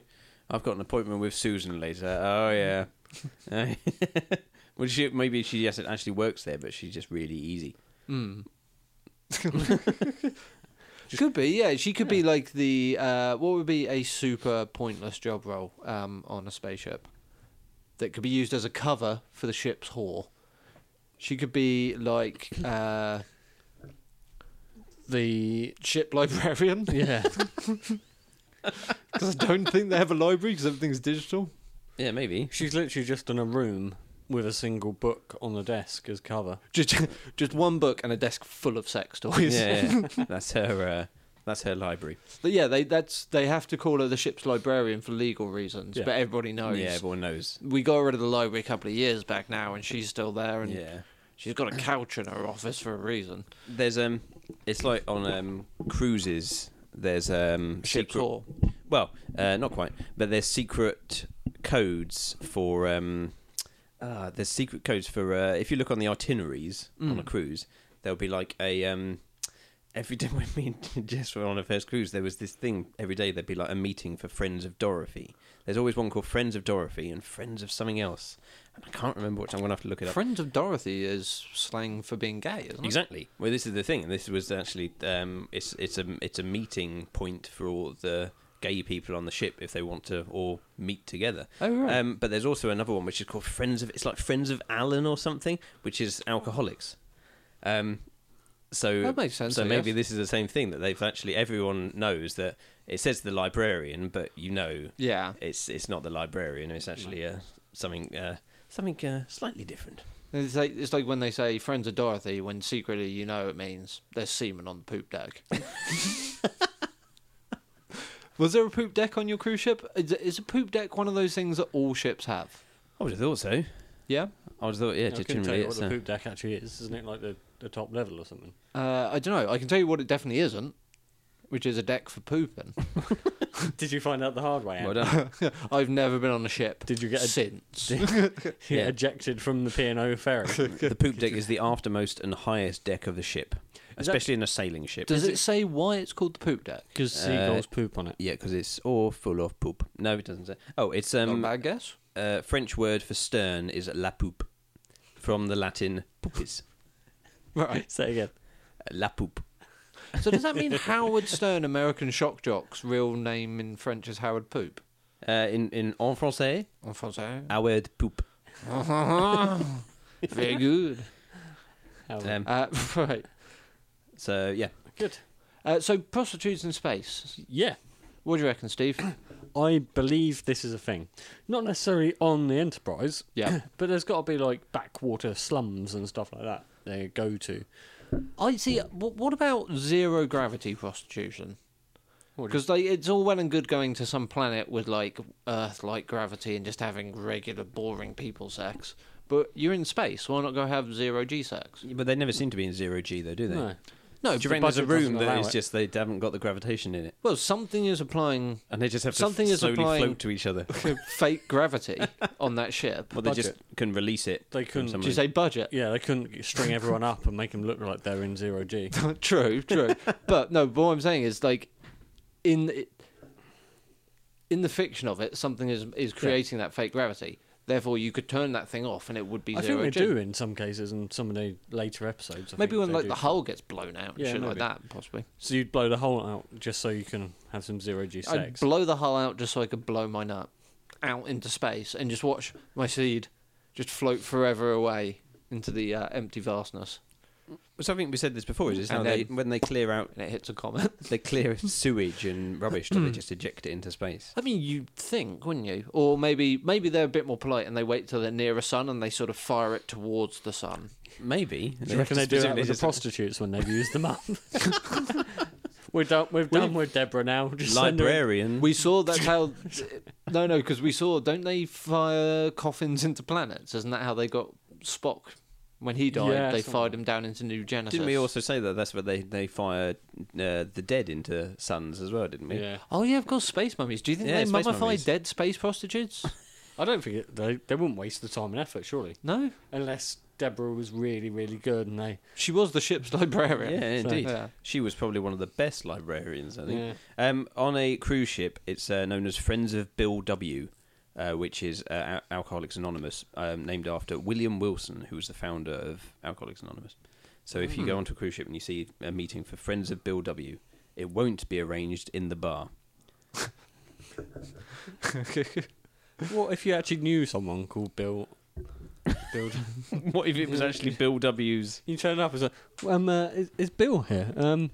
Speaker 3: I've got an appointment with Susan later. Oh yeah. Uh, well, she maybe she yes, it actually works there, but she's just really easy.
Speaker 2: mm. could be, yeah. She could be like the uh, what would be a super pointless job role um, on a spaceship that could be used as a cover for the ship's whore. She could be like uh,
Speaker 1: The.
Speaker 2: ship librarian
Speaker 1: Yeah.
Speaker 2: because I don't think they have a library because everything's digital.
Speaker 3: Yeah, maybe.
Speaker 1: She's literally just in a room with a single book on the desk as cover.
Speaker 2: Just, just one book and a desk full of sex toys.
Speaker 3: Yeah, yeah. that's her. Uh, that's her library.
Speaker 2: But yeah, they that's they have to call her the ship's librarian for legal reasons,
Speaker 1: Yeah.
Speaker 2: but everybody knows.
Speaker 3: Yeah, everyone knows.
Speaker 2: we got rid of the library a couple of years back now, and she's still there, and
Speaker 3: Yeah,
Speaker 2: she's got a couch in her office for a reason.
Speaker 3: there's um, it's like on um cruises. There's um
Speaker 2: Ship
Speaker 3: secret.
Speaker 2: tour.
Speaker 3: Well, uh, not quite, but there's secret codes for um, uh, there's secret codes for uh, if you look on the itineraries on a cruise, there'll be like a um, every day when me and Jess were on our first cruise, there was this thing every day. There'd be like a meeting for Friends of Dorothy. There's always one called Friends of Dorothy and Friends of something else, and I can't remember which. I'm gonna have to look it up.
Speaker 2: Friend of Dorothy is slang for being gay, isn't it?
Speaker 3: Exactly. Well, this is the thing, and this was actually um, it's it's a it's a meeting point for all the gay people on the ship if they want to all meet together.
Speaker 2: Oh, right.
Speaker 3: Um, but there's also another one which is called Friends of it's like Friends of Alan or something, which is alcoholics. Um, so
Speaker 2: That makes sense,
Speaker 3: So
Speaker 2: I
Speaker 3: maybe
Speaker 2: guess.
Speaker 3: this is the same thing that they've actually everyone knows that it says the librarian, but you know
Speaker 2: Yeah,
Speaker 3: it's it's not the librarian. It's actually uh, something uh, something uh, slightly different.
Speaker 2: it's like it's like when they say friends of Dorothy when secretly you know it means there's semen on the poop deck. Was there a poop deck on your cruise ship? Is, is a poop deck one of those things that all ships have?
Speaker 3: I would have thought so.
Speaker 2: Yeah.
Speaker 3: I would have thought yeah,
Speaker 1: I couldn't tell
Speaker 3: generally
Speaker 1: you what
Speaker 3: it's,
Speaker 1: the
Speaker 3: uh,
Speaker 1: poop deck actually is. Isn't it like the the top level or something.
Speaker 2: Uh, I don't know. I can tell you what it definitely isn't, which is a deck for pooping.
Speaker 1: Did you find out the hard way? Andy?
Speaker 3: Well done.
Speaker 2: I've never been on a ship
Speaker 1: Did you get a-
Speaker 2: since.
Speaker 1: He
Speaker 3: Yeah.
Speaker 1: ejected from the P&O ferry.
Speaker 3: the poop deck is the aftermost and highest deck of the ship,
Speaker 1: Is that-
Speaker 3: especially in a sailing ship.
Speaker 2: Does it say why it's called the poop deck?
Speaker 1: Because
Speaker 3: Uh,
Speaker 1: seagulls poop on it.
Speaker 3: Yeah, because it's all full of poop. No, it doesn't say. Oh, it's
Speaker 2: Not a
Speaker 3: um
Speaker 2: bad guess.
Speaker 3: uh, French word for stern is la poupe, from the Latin poopis.
Speaker 2: Right.
Speaker 1: Say again.
Speaker 3: Uh, La poupe.
Speaker 2: So does that mean Howard Stern, American shock jock's real name in French is Howard Poop?
Speaker 3: Uh, in in en français,
Speaker 2: En français.
Speaker 3: Howard poop.
Speaker 2: Very good.
Speaker 1: How-
Speaker 3: Um,
Speaker 2: Uh, right.
Speaker 3: so yeah,
Speaker 1: Good.
Speaker 2: Uh, so prostitutes in space.
Speaker 1: Yeah.
Speaker 2: What do you reckon, Steve?
Speaker 1: I believe this is a thing. Not necessarily on the Enterprise,
Speaker 2: Yeah.
Speaker 1: but there's got to be like backwater slums and stuff like that they go to.
Speaker 2: I see. What, what about zero gravity prostitution?
Speaker 1: What do
Speaker 2: Because like it's all well and good going to some planet with like Earth-like gravity and just having regular boring people sex, but you're in space. Why not go have zero g sex?
Speaker 3: but they never seem to be in zero g though, do they?
Speaker 1: No.
Speaker 2: No,
Speaker 3: Do you
Speaker 2: but-
Speaker 3: reckon there's a
Speaker 1: budget
Speaker 3: room
Speaker 1: doesn't
Speaker 3: that
Speaker 1: allow
Speaker 3: is
Speaker 1: it.
Speaker 3: just they haven't got the gravitation in it,
Speaker 2: well, something is applying
Speaker 3: and they just have to
Speaker 2: Something
Speaker 3: f-
Speaker 2: is
Speaker 3: slowly
Speaker 2: applying-
Speaker 3: float to each other?
Speaker 2: fake gravity on that ship.
Speaker 3: Well, they
Speaker 1: Budget.
Speaker 3: just can release it.
Speaker 1: They couldn't
Speaker 3: from
Speaker 2: Do you
Speaker 3: somewhere.
Speaker 2: say budget?
Speaker 1: Yeah, they couldn't string everyone up and make them look like they're in zero G.
Speaker 2: true, true. but no, but what I'm saying is like in in the fiction of it, something is is creating that fake gravity. Therefore, you could turn that thing off, and it would be
Speaker 1: I think
Speaker 2: zero
Speaker 1: they
Speaker 2: G.
Speaker 1: do in some cases and some of the later episodes. I
Speaker 2: Maybe
Speaker 1: think
Speaker 2: when
Speaker 1: they
Speaker 2: like
Speaker 1: do.
Speaker 2: the hull gets blown out and
Speaker 1: Yeah,
Speaker 2: shit like
Speaker 1: maybe.
Speaker 2: that, possibly.
Speaker 1: So you'd blow the hole out just so you can have some zero G
Speaker 2: I'd
Speaker 1: sex.
Speaker 2: blow the hull out just so I could blow my nut out into space and just watch my seed just float forever away into the uh, empty vastness,
Speaker 3: Well, something we said this before is, is how
Speaker 2: And
Speaker 3: they
Speaker 2: then-
Speaker 3: when they clear out
Speaker 2: and it hits a comet.
Speaker 3: they clear sewage and rubbish, do they just eject it into space?
Speaker 2: I mean, you'd think, wouldn't you? Or maybe maybe they're a bit more polite and they wait till they're near a sun and they sort of fire it towards the sun.
Speaker 3: Maybe.
Speaker 1: Do you reckon they do that with the prostitutes when they've used them up? we're done. We're done with Deborah now. Just send her in.
Speaker 3: librarian?
Speaker 2: We saw that's how. no, no, because we saw. Don't they fire coffins into planets? Isn't that how they got Spock when he died?
Speaker 1: Yeah,
Speaker 2: they
Speaker 1: something
Speaker 2: fired
Speaker 1: like
Speaker 2: him down into New Genesis.
Speaker 3: didn't we also say that that's where they they fire uh, the dead into suns as well? Didn't we?
Speaker 1: Yeah.
Speaker 2: Oh yeah, of course, space mummies. Do you think
Speaker 3: Yeah,
Speaker 2: they
Speaker 3: space
Speaker 2: mummify
Speaker 3: mummies.
Speaker 2: dead space prostitutes?
Speaker 1: I don't think it, they they wouldn't waste the time and effort, surely,
Speaker 2: No,
Speaker 1: unless Deborah was really really good and they.
Speaker 2: she was the ship's librarian.
Speaker 3: Yeah, indeed.
Speaker 2: yeah.
Speaker 3: She was probably one of the best librarians, I think.
Speaker 1: Yeah.
Speaker 3: Um, on a cruise ship, it's uh, known as Friends of Bill W, uh, which is uh, Al- Alcoholics Anonymous, um, named after William Wilson, who was the founder of Alcoholics Anonymous. So if you
Speaker 1: Hmm.
Speaker 3: go onto a cruise ship and you see a meeting for Friends of Bill W, it won't be arranged in the bar.
Speaker 1: What if you actually knew someone called Bill? Bill.
Speaker 3: what if it was actually Bill W's?
Speaker 1: You turn up and say, um, uh, is, is Bill here? Um,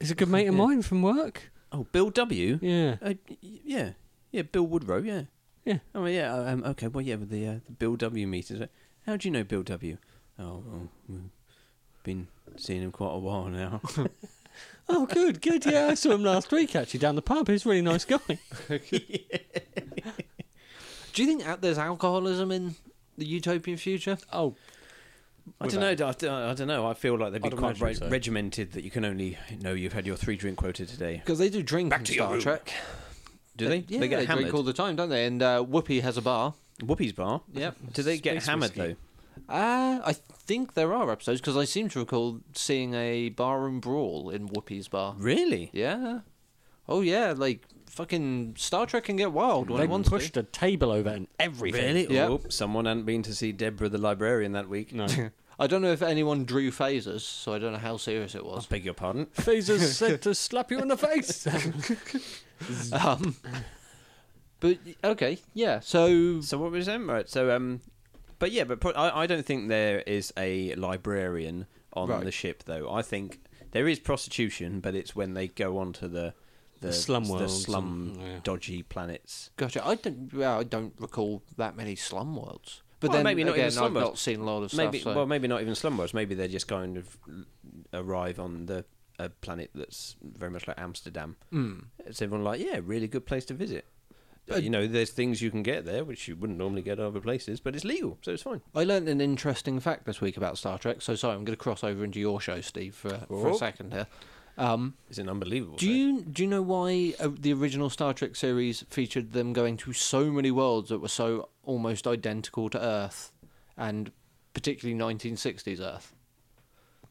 Speaker 1: is a good mate of mine from work.
Speaker 3: Oh, Bill W?
Speaker 1: Yeah.
Speaker 3: Uh, y- yeah, yeah, Bill Woodrow, yeah,
Speaker 1: Yeah.
Speaker 3: Oh yeah, uh, um, okay. Well, yeah, but the, uh, the Bill W meetings. uh, How do you know Bill W? Oh, well, we've been seeing him quite a while now.
Speaker 1: Oh, good, good. Yeah, I saw him last week actually down the pub. He's a really nice guy.
Speaker 2: Do you think that there's alcoholism in the utopian future?
Speaker 1: Oh,
Speaker 3: I don't know. I, don't- I don't know. I feel like they'd be
Speaker 1: I'd
Speaker 3: quite
Speaker 1: imagine
Speaker 3: reg-
Speaker 1: so.
Speaker 3: regimented that you can only know you've had your three drink quota today.
Speaker 2: Because they do drink
Speaker 3: Back
Speaker 2: in
Speaker 3: to your
Speaker 2: Star
Speaker 3: room.
Speaker 2: Trek.
Speaker 1: Uh,
Speaker 3: Do they?
Speaker 2: Yeah,
Speaker 3: they get hammered.
Speaker 2: drink all the time, don't they? And uh, Whoopi has a bar.
Speaker 3: Whoopi's bar.
Speaker 2: Yep.
Speaker 3: Do they get
Speaker 1: Space
Speaker 3: hammered
Speaker 1: whiskey.
Speaker 2: Uh, I think there are episodes because I seem to recall seeing a barroom brawl in Whoopi's bar.
Speaker 3: though? Really?
Speaker 2: Yeah. Oh yeah, like fucking Star Trek can get wild when
Speaker 1: they
Speaker 2: it wants
Speaker 1: pushed
Speaker 2: to.
Speaker 1: a table over and everything.
Speaker 3: Really?
Speaker 2: Yeah.
Speaker 3: Oh, someone hadn't been to see Deborah the librarian that week.
Speaker 1: No.
Speaker 2: I don't know if anyone drew phasers, so I don't know how serious it
Speaker 3: I
Speaker 2: was.
Speaker 3: beg your pardon.
Speaker 1: Phasers said to slap you in the face.
Speaker 2: um, but okay, yeah. So
Speaker 3: So what was them? Right. So um, but yeah, but pro- I, I don't think there is a librarian on
Speaker 2: Right.
Speaker 3: the ship though. I think there is prostitution, but it's when they go onto the the,
Speaker 1: slum
Speaker 3: the
Speaker 1: worlds
Speaker 3: slum
Speaker 1: and- yeah.
Speaker 3: dodgy planets.
Speaker 2: gotcha. I don't. Well, I don't recall that many slum worlds. But
Speaker 3: Well,
Speaker 2: then
Speaker 3: maybe not
Speaker 2: again,
Speaker 3: even slum
Speaker 2: I've
Speaker 3: worlds.
Speaker 2: not seen a lot of
Speaker 3: Maybe
Speaker 2: stuff. So.
Speaker 3: well, maybe not even slum worlds. Maybe they just kind of arrive on the a planet that's very much like Amsterdam.
Speaker 2: Mm.
Speaker 3: It's everyone like, yeah, really good place to visit. But you know, there's things you can get there which you wouldn't normally get other places, but it's legal, so it's fine.
Speaker 2: I learned an interesting fact this week about Star Trek. So sorry, I'm going to cross over into your show, Steve, for, for a
Speaker 3: Oh.
Speaker 2: second here. Um,
Speaker 3: It's an unbelievable.
Speaker 2: do
Speaker 3: thing.
Speaker 2: you do you know why uh, the original Star Trek series featured them going to so many worlds that were so almost identical to Earth, and particularly 1960s Earth?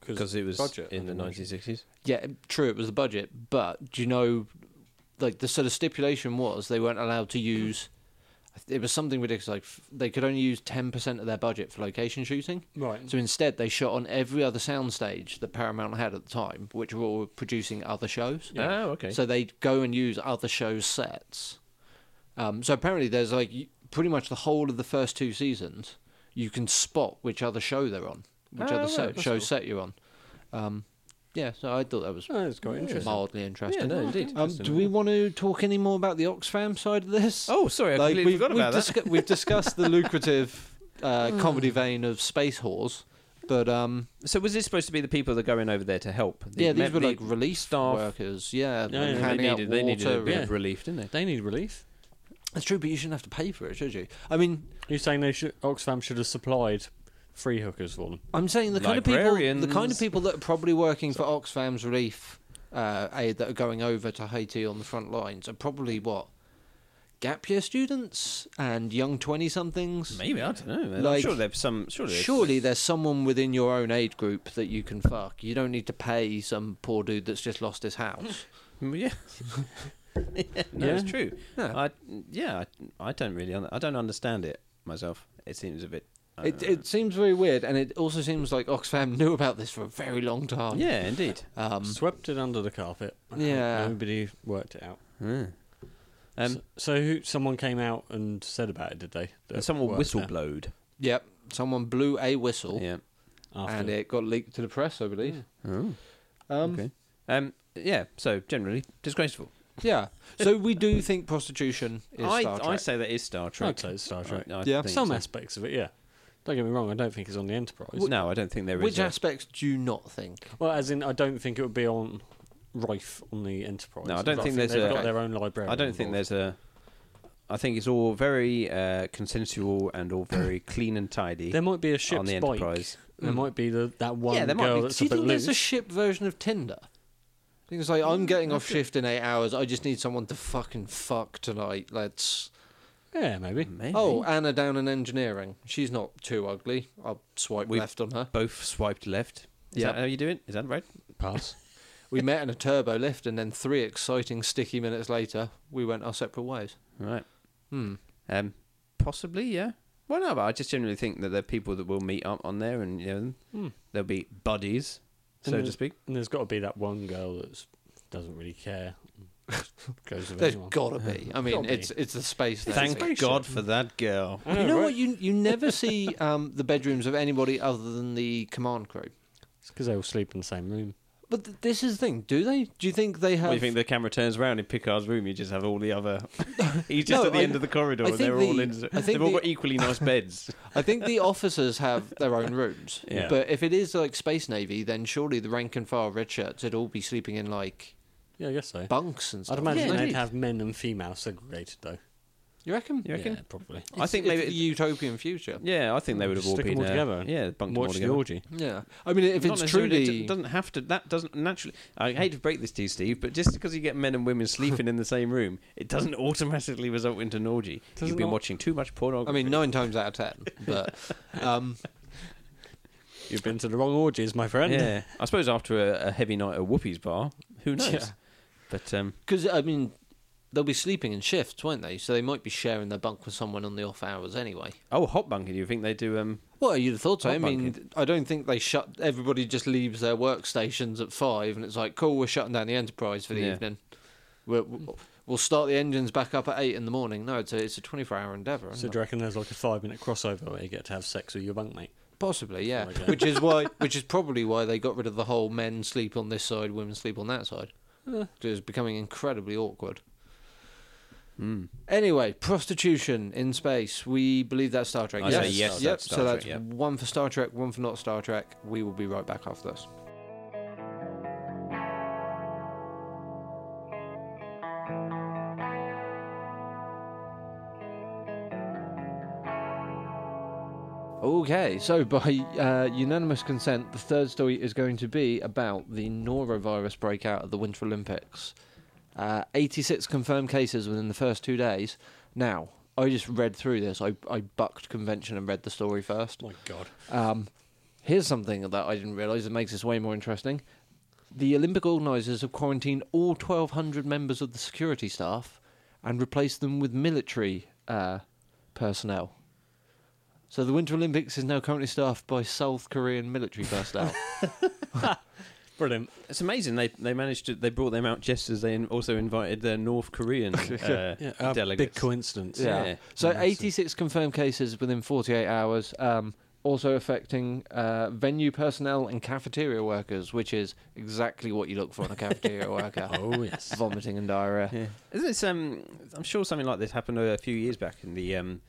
Speaker 3: because it was
Speaker 1: budget,
Speaker 3: in
Speaker 1: I
Speaker 3: the
Speaker 1: think.
Speaker 3: 1960s.
Speaker 2: Yeah, true, it was the budget, but do you know, like the sort of stipulation was they weren't allowed to use. It was something ridiculous. Like f- they could only use ten percent of their budget for location shooting.
Speaker 1: Right.
Speaker 2: So instead, they shot on every other soundstage that Paramount had at the time, which were all producing other shows.
Speaker 3: Oh, okay.
Speaker 2: So they'd go and use other shows' sets. Um, so apparently, there's like y- pretty much the whole of the first two seasons, you can spot which other show they're on, which
Speaker 3: Ah,
Speaker 2: other
Speaker 3: right,
Speaker 2: set,
Speaker 3: that's
Speaker 2: show
Speaker 3: cool.
Speaker 2: set you're on. Um, yeah, so I thought that was
Speaker 1: Oh, that's quite interesting.
Speaker 2: mildly
Speaker 3: yeah,
Speaker 2: interesting.
Speaker 3: no, indeed.
Speaker 4: Um,
Speaker 3: Interesting.
Speaker 2: Do we want to talk any more about the Oxfam side of this?
Speaker 3: Oh, sorry, I completely forgot about that.
Speaker 2: discu- we've discussed the lucrative uh, comedy vein of space whores, but um,
Speaker 3: So was this supposed to be the people that are going over there to help? The
Speaker 2: yeah, these
Speaker 3: me-
Speaker 2: were
Speaker 3: the
Speaker 2: like relief
Speaker 3: staff.
Speaker 2: workers. Yeah,
Speaker 1: Yeah,
Speaker 2: like
Speaker 1: yeah,
Speaker 3: They
Speaker 2: handing out
Speaker 3: needed, they needed a
Speaker 2: water
Speaker 3: bit
Speaker 2: and-
Speaker 1: yeah.
Speaker 3: of relief, didn't they?
Speaker 1: They need relief.
Speaker 2: That's true, but you shouldn't have to pay for it, should you? I mean,
Speaker 1: You're saying they should, Oxfam should have supplied free hookers for them?
Speaker 2: I'm saying the kind of people, the kind
Speaker 3: Librarians.
Speaker 2: of people that are probably working for Oxfam's relief uh, aid that are going over to Haiti on the front lines are probably what gap year students and young twenty somethings.
Speaker 3: Maybe I don't know. man. I'm
Speaker 2: Like-
Speaker 3: sure there's some. Surely, there's-
Speaker 2: Surely there's someone within your own aid group that you can fuck. You don't need to pay some poor dude that's just lost his house.
Speaker 3: Mm, Yeah. yeah, no, it's
Speaker 1: Yeah.
Speaker 3: true.
Speaker 2: Yeah.
Speaker 3: I yeah, I, I don't really, un- I don't understand it myself. It seems a bit. I
Speaker 4: It-
Speaker 3: don't know.
Speaker 4: it-
Speaker 2: It seems very weird, and it also seems like Oxfam knew about this for a very long time.
Speaker 3: yeah, indeed.
Speaker 2: Um,
Speaker 1: Swept it under the carpet.
Speaker 2: Yeah.
Speaker 1: Nobody worked it out.
Speaker 3: Yeah. Um,
Speaker 1: Um, so who, someone came out and said about it, did they?
Speaker 3: and someone
Speaker 1: whistle
Speaker 3: whistleblowed.
Speaker 2: Yep. Someone blew a whistle.
Speaker 3: Yeah.
Speaker 1: After.
Speaker 2: and it got leaked to the press, I believe.
Speaker 3: Oh,
Speaker 4: Um,
Speaker 3: okay. Um, yeah. So generally disgraceful.
Speaker 2: Yeah. So we do think prostitution is
Speaker 3: I
Speaker 2: Star
Speaker 3: I
Speaker 2: Trek.
Speaker 3: say that is Star Trek.
Speaker 1: I'd say it's Star Trek.
Speaker 3: I- I
Speaker 2: Yeah.
Speaker 3: think
Speaker 1: Some
Speaker 3: so.
Speaker 1: aspects of it, yeah. Don't get me wrong, I don't think it's on the Enterprise.
Speaker 3: No, I don't think there is.
Speaker 2: Which
Speaker 3: a-
Speaker 2: aspects do you not think?
Speaker 1: Well, as in, I don't think it would be on rife on the Enterprise.
Speaker 3: No, I don't
Speaker 1: But
Speaker 3: think there's
Speaker 1: they've
Speaker 3: a-
Speaker 1: got their own library.
Speaker 3: I don't think there's a. I think it's all very uh, consensual and all very clean and tidy
Speaker 1: There might be a ship's
Speaker 3: on the
Speaker 1: bike.
Speaker 3: Enterprise. Hmm.
Speaker 1: There
Speaker 2: Mm.
Speaker 1: might be the that one
Speaker 3: there might
Speaker 1: girl
Speaker 3: be-
Speaker 1: that's
Speaker 2: do you
Speaker 1: a bit
Speaker 2: think
Speaker 1: loose.
Speaker 2: there's a ship version of Tinder? I think it's like I'm getting off shift in eight hours. I just need someone to fucking fuck tonight. Let's.
Speaker 1: yeah, maybe.
Speaker 3: Maybe.
Speaker 2: Oh, Anna down in engineering. She's not too ugly. I'll swipe
Speaker 3: We-
Speaker 2: left on her.
Speaker 3: both swiped left. Is
Speaker 2: Yeah.
Speaker 3: that how you do it? Is that right?
Speaker 1: Pass.
Speaker 2: We met in a turbo lift, and then three exciting sticky minutes later, we went our separate ways.
Speaker 3: Right.
Speaker 2: Hmm.
Speaker 3: Um, possibly, yeah. Well, no, but I just generally think that there are people that will meet up on there, and you know,
Speaker 1: Hmm.
Speaker 3: they'll be buddies, so
Speaker 1: And
Speaker 2: Mm-hmm.
Speaker 3: to
Speaker 1: there's-
Speaker 3: speak.
Speaker 1: And there's got to be that one girl that doesn't really care. Goes with
Speaker 2: There's
Speaker 1: anyone.
Speaker 2: gotta be. I mean,
Speaker 1: Gotta be.
Speaker 2: it's it's the space. there.
Speaker 1: Thank
Speaker 3: Thank
Speaker 1: spaceship.
Speaker 3: God for that girl.
Speaker 1: I
Speaker 2: you know
Speaker 1: right?
Speaker 2: what? You you never see um, the bedrooms of anybody other than the command crew.
Speaker 1: It's because they all sleep in the same room.
Speaker 2: But th- this is the thing. Do they? Do you think they have?
Speaker 3: What do you think? The camera turns around in Picard's room. You just have all the other. He's just
Speaker 2: No,
Speaker 3: at the
Speaker 2: I-
Speaker 3: end of the corridor,
Speaker 2: I
Speaker 3: and
Speaker 2: think
Speaker 3: they're all
Speaker 2: the-
Speaker 3: in.
Speaker 2: I think
Speaker 3: They've all
Speaker 2: the-
Speaker 3: got equally nice beds.
Speaker 2: I think the officers have their own rooms.
Speaker 3: Yeah.
Speaker 2: But if it is like space navy, then surely the rank and file red shirts would all be sleeping in like
Speaker 1: Yeah, I guess so.
Speaker 2: bunks and stuff.
Speaker 1: I'd imagine
Speaker 2: wouldn't
Speaker 1: they'd
Speaker 2: they?
Speaker 1: have men and female segregated though.
Speaker 2: You reckon?
Speaker 3: You reckon?
Speaker 1: Yeah, probably.
Speaker 3: I think
Speaker 2: It's-
Speaker 3: maybe.
Speaker 2: it's the utopian future.
Speaker 3: yeah, I think they would have all
Speaker 1: Stick 'em
Speaker 3: been
Speaker 1: all
Speaker 3: uh,
Speaker 1: together.
Speaker 3: Yeah, bunked 'em all
Speaker 1: Watch the
Speaker 3: together.
Speaker 1: orgy.
Speaker 2: Yeah. I mean, if
Speaker 3: Not
Speaker 2: it's
Speaker 3: necessarily-
Speaker 2: truly
Speaker 3: it d- doesn't have to. That doesn't naturally. I hate to break this to you, Steve, but just because you get men and women sleeping in the same room, it doesn't automatically result into an orgy.
Speaker 1: Does
Speaker 3: You've
Speaker 1: it
Speaker 3: been
Speaker 1: not?
Speaker 3: watching too much
Speaker 2: I
Speaker 3: pornography.
Speaker 2: mean, nine times out of ten. But um,
Speaker 1: You've been to the wrong orgies, my friend.
Speaker 3: Yeah, I suppose after a, a heavy night at Whoopi's bar, who knows?
Speaker 2: Yeah.
Speaker 3: But um,
Speaker 2: Because I mean, they'll be sleeping in shifts, won't they? So they might be sharing their bunk with someone on the off hours anyway.
Speaker 3: oh, hot bunking. Do you think they do? Um,
Speaker 2: Well, you'd have thought so.
Speaker 3: Hot
Speaker 2: I mean, I don't think they shut. Everybody just leaves their workstations at five, and it's like, cool, we're shutting down the Enterprise for the
Speaker 3: Yeah.
Speaker 2: evening. We're, we'll start the engines back up at eight in the morning. No, it's a it's a twenty four hour endeavour.
Speaker 1: So
Speaker 2: isn't
Speaker 1: do you
Speaker 2: it?
Speaker 1: reckon there's like a five minute crossover where you get to have sex with your bunkmate?
Speaker 2: Possibly, yeah.
Speaker 1: Something like that.
Speaker 2: which is why, which is probably why they got rid of the whole men sleep on this side, women sleep on that side.
Speaker 1: Uh.
Speaker 2: It was becoming incredibly awkward.
Speaker 3: hmm.
Speaker 2: Anyway, prostitution in space. We believe that's Star Trek.
Speaker 3: I
Speaker 1: say
Speaker 2: yes.
Speaker 1: yes,
Speaker 2: Yep.
Speaker 3: that's Star
Speaker 2: so
Speaker 3: Trek,
Speaker 2: that's
Speaker 3: yep.
Speaker 2: one for Star Trek, one for not Star Trek. We will be right back after this. Okay, so by uh, unanimous consent, the third story is going to be about the norovirus breakout at the Winter Olympics. Uh, 86 confirmed cases within the first two days. Now, I just read through this. I, I bucked convention and read the story first.
Speaker 1: My God.
Speaker 2: Um, here's something that I didn't realise that makes this way more interesting. The Olympic organisers have quarantined all 1,200 members of the security staff and replaced them with military uh, personnel. So the Winter Olympics is now currently staffed by South Korean military personnel.
Speaker 1: Brilliant.
Speaker 3: It's amazing they they managed to they brought them out just as they in- also invited their North Korean uh,
Speaker 1: Yeah, uh, big
Speaker 3: delegates.
Speaker 1: coincidence.
Speaker 3: Yeah.
Speaker 2: So
Speaker 1: Massive.
Speaker 2: 86 confirmed cases within 48 hours, um, also affecting uh, venue personnel and cafeteria workers, which is exactly what you look for in a cafeteria worker.
Speaker 1: Oh, yes.
Speaker 2: Vomiting and diarrhea.
Speaker 3: yeah. Isn't this, um, I'm sure something like this happened a few years back in the um,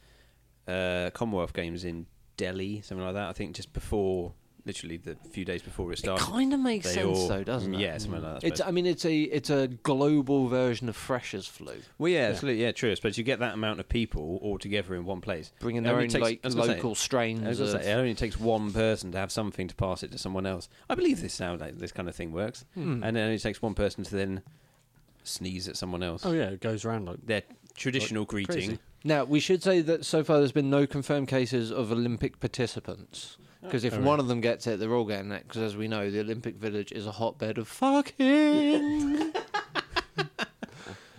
Speaker 3: uh, Commonwealth Games in Delhi, something like that. I think just before, literally the few days before it
Speaker 2: It
Speaker 3: started.
Speaker 2: kind of makes
Speaker 3: they
Speaker 2: sense,
Speaker 3: all- mm,
Speaker 2: though, doesn't it?
Speaker 3: Yeah, something like that. I
Speaker 2: It's,
Speaker 3: suppose.
Speaker 2: I mean, it's a it's a global version of freshers' flu,
Speaker 3: well, yeah, absolutely, yeah, true. I suppose you get that amount of people all together in one place.
Speaker 2: bringing
Speaker 3: It
Speaker 2: their
Speaker 3: only
Speaker 2: own
Speaker 3: takes-
Speaker 2: like
Speaker 3: I was gonna say- I
Speaker 2: local
Speaker 3: was
Speaker 2: strains.
Speaker 3: gonna
Speaker 2: Of,
Speaker 3: say, uh, it only takes one person to have something to pass it to someone else. I believe this sound like this kind of thing works,
Speaker 2: Hmm.
Speaker 3: and it only takes one person to then sneeze at someone else.
Speaker 1: Oh, yeah, it goes round like
Speaker 3: Their traditional greeting.
Speaker 1: crazy.
Speaker 2: Now, we should say that so far there's been no confirmed cases of Olympic participants. Because if
Speaker 1: Oh,
Speaker 2: one
Speaker 1: right.
Speaker 2: of them gets it, they're all getting it. Because as we know, the Olympic Village is a hotbed of fucking.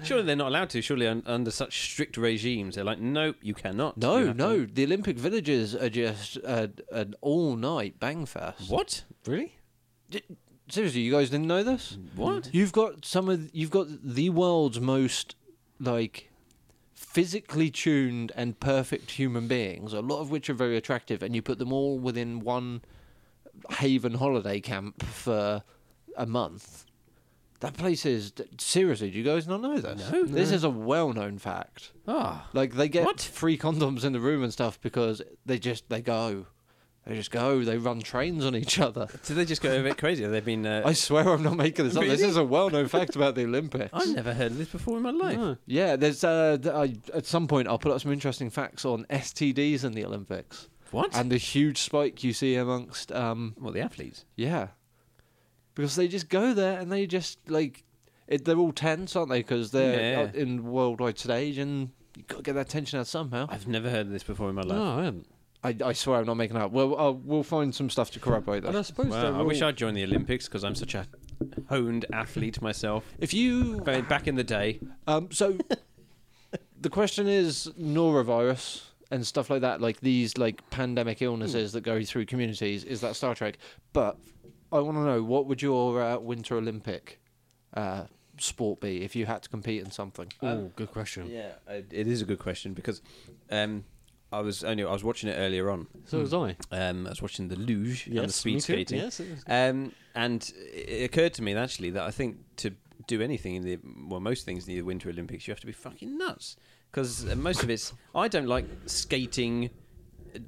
Speaker 3: Surely they're not allowed to. Surely un- under such strict regimes, they're like, nope, you cannot. You
Speaker 2: no,
Speaker 3: have
Speaker 2: no,
Speaker 3: to-"
Speaker 2: the Olympic villages are just uh, an all-night bang fest.
Speaker 3: What?
Speaker 1: Really?
Speaker 2: Seriously, you guys didn't know this?
Speaker 3: What?
Speaker 2: You've got some of you've got the world's most like physically tuned and perfect human beings, a lot of which are very attractive, and you put them all within one haven holiday camp for a month. That place is seriously. Do you guys not know this?
Speaker 3: No.
Speaker 2: This is a well-known fact.
Speaker 3: Ah.
Speaker 2: Like they get
Speaker 3: What?
Speaker 2: free condoms in the room and stuff because they just they go, they just go. They run trains on each other.
Speaker 3: So they just go a bit crazy. They've been. Uh,
Speaker 2: I swear I'm not making this up. This
Speaker 3: Really?
Speaker 2: is a well-known fact about the Olympics.
Speaker 3: I've never heard of this before in my life.
Speaker 1: No.
Speaker 2: Yeah, there's. Uh, th- I, at some point, I'll put up some interesting facts on STDs in the Olympics
Speaker 3: What?
Speaker 2: and the huge spike you see amongst. Um,
Speaker 3: well, the athletes.
Speaker 2: yeah, because they just go there and they just like it, they're all tense, aren't they? Because they're
Speaker 3: Yeah.
Speaker 2: out in worldwide stage and you got to get that tension out somehow.
Speaker 3: I've never heard of this before in my life.
Speaker 1: No, I haven't.
Speaker 2: I, I swear I'm not making that up. Well, uh, we'll find some stuff to corroborate
Speaker 1: And I
Speaker 2: that.
Speaker 1: suppose
Speaker 3: Wow,
Speaker 1: they're
Speaker 3: I wish
Speaker 1: all-
Speaker 3: I'd joined the Olympics because I'm such a honed athlete myself.
Speaker 2: If you
Speaker 3: Ba- Back in the day,
Speaker 2: Um, so the question is norovirus and stuff like that, like these like pandemic illnesses that go through communities. Is that Star Trek? But I want to know what would your uh, Winter Olympic uh, sport be if you had to compete in something?
Speaker 1: Oh, good question.
Speaker 3: yeah, it Uh, it is a good question because um, I was only I was watching it earlier on.
Speaker 1: So was I.
Speaker 3: Um, I was watching the luge and the
Speaker 1: me
Speaker 3: speed
Speaker 1: too.
Speaker 3: skating.
Speaker 1: Yes, it was-
Speaker 3: Um, and it occurred to me that actually that I think to do anything in the well, most things in the Winter Olympics, you have to be fucking nuts because most of it's. I don't like skating.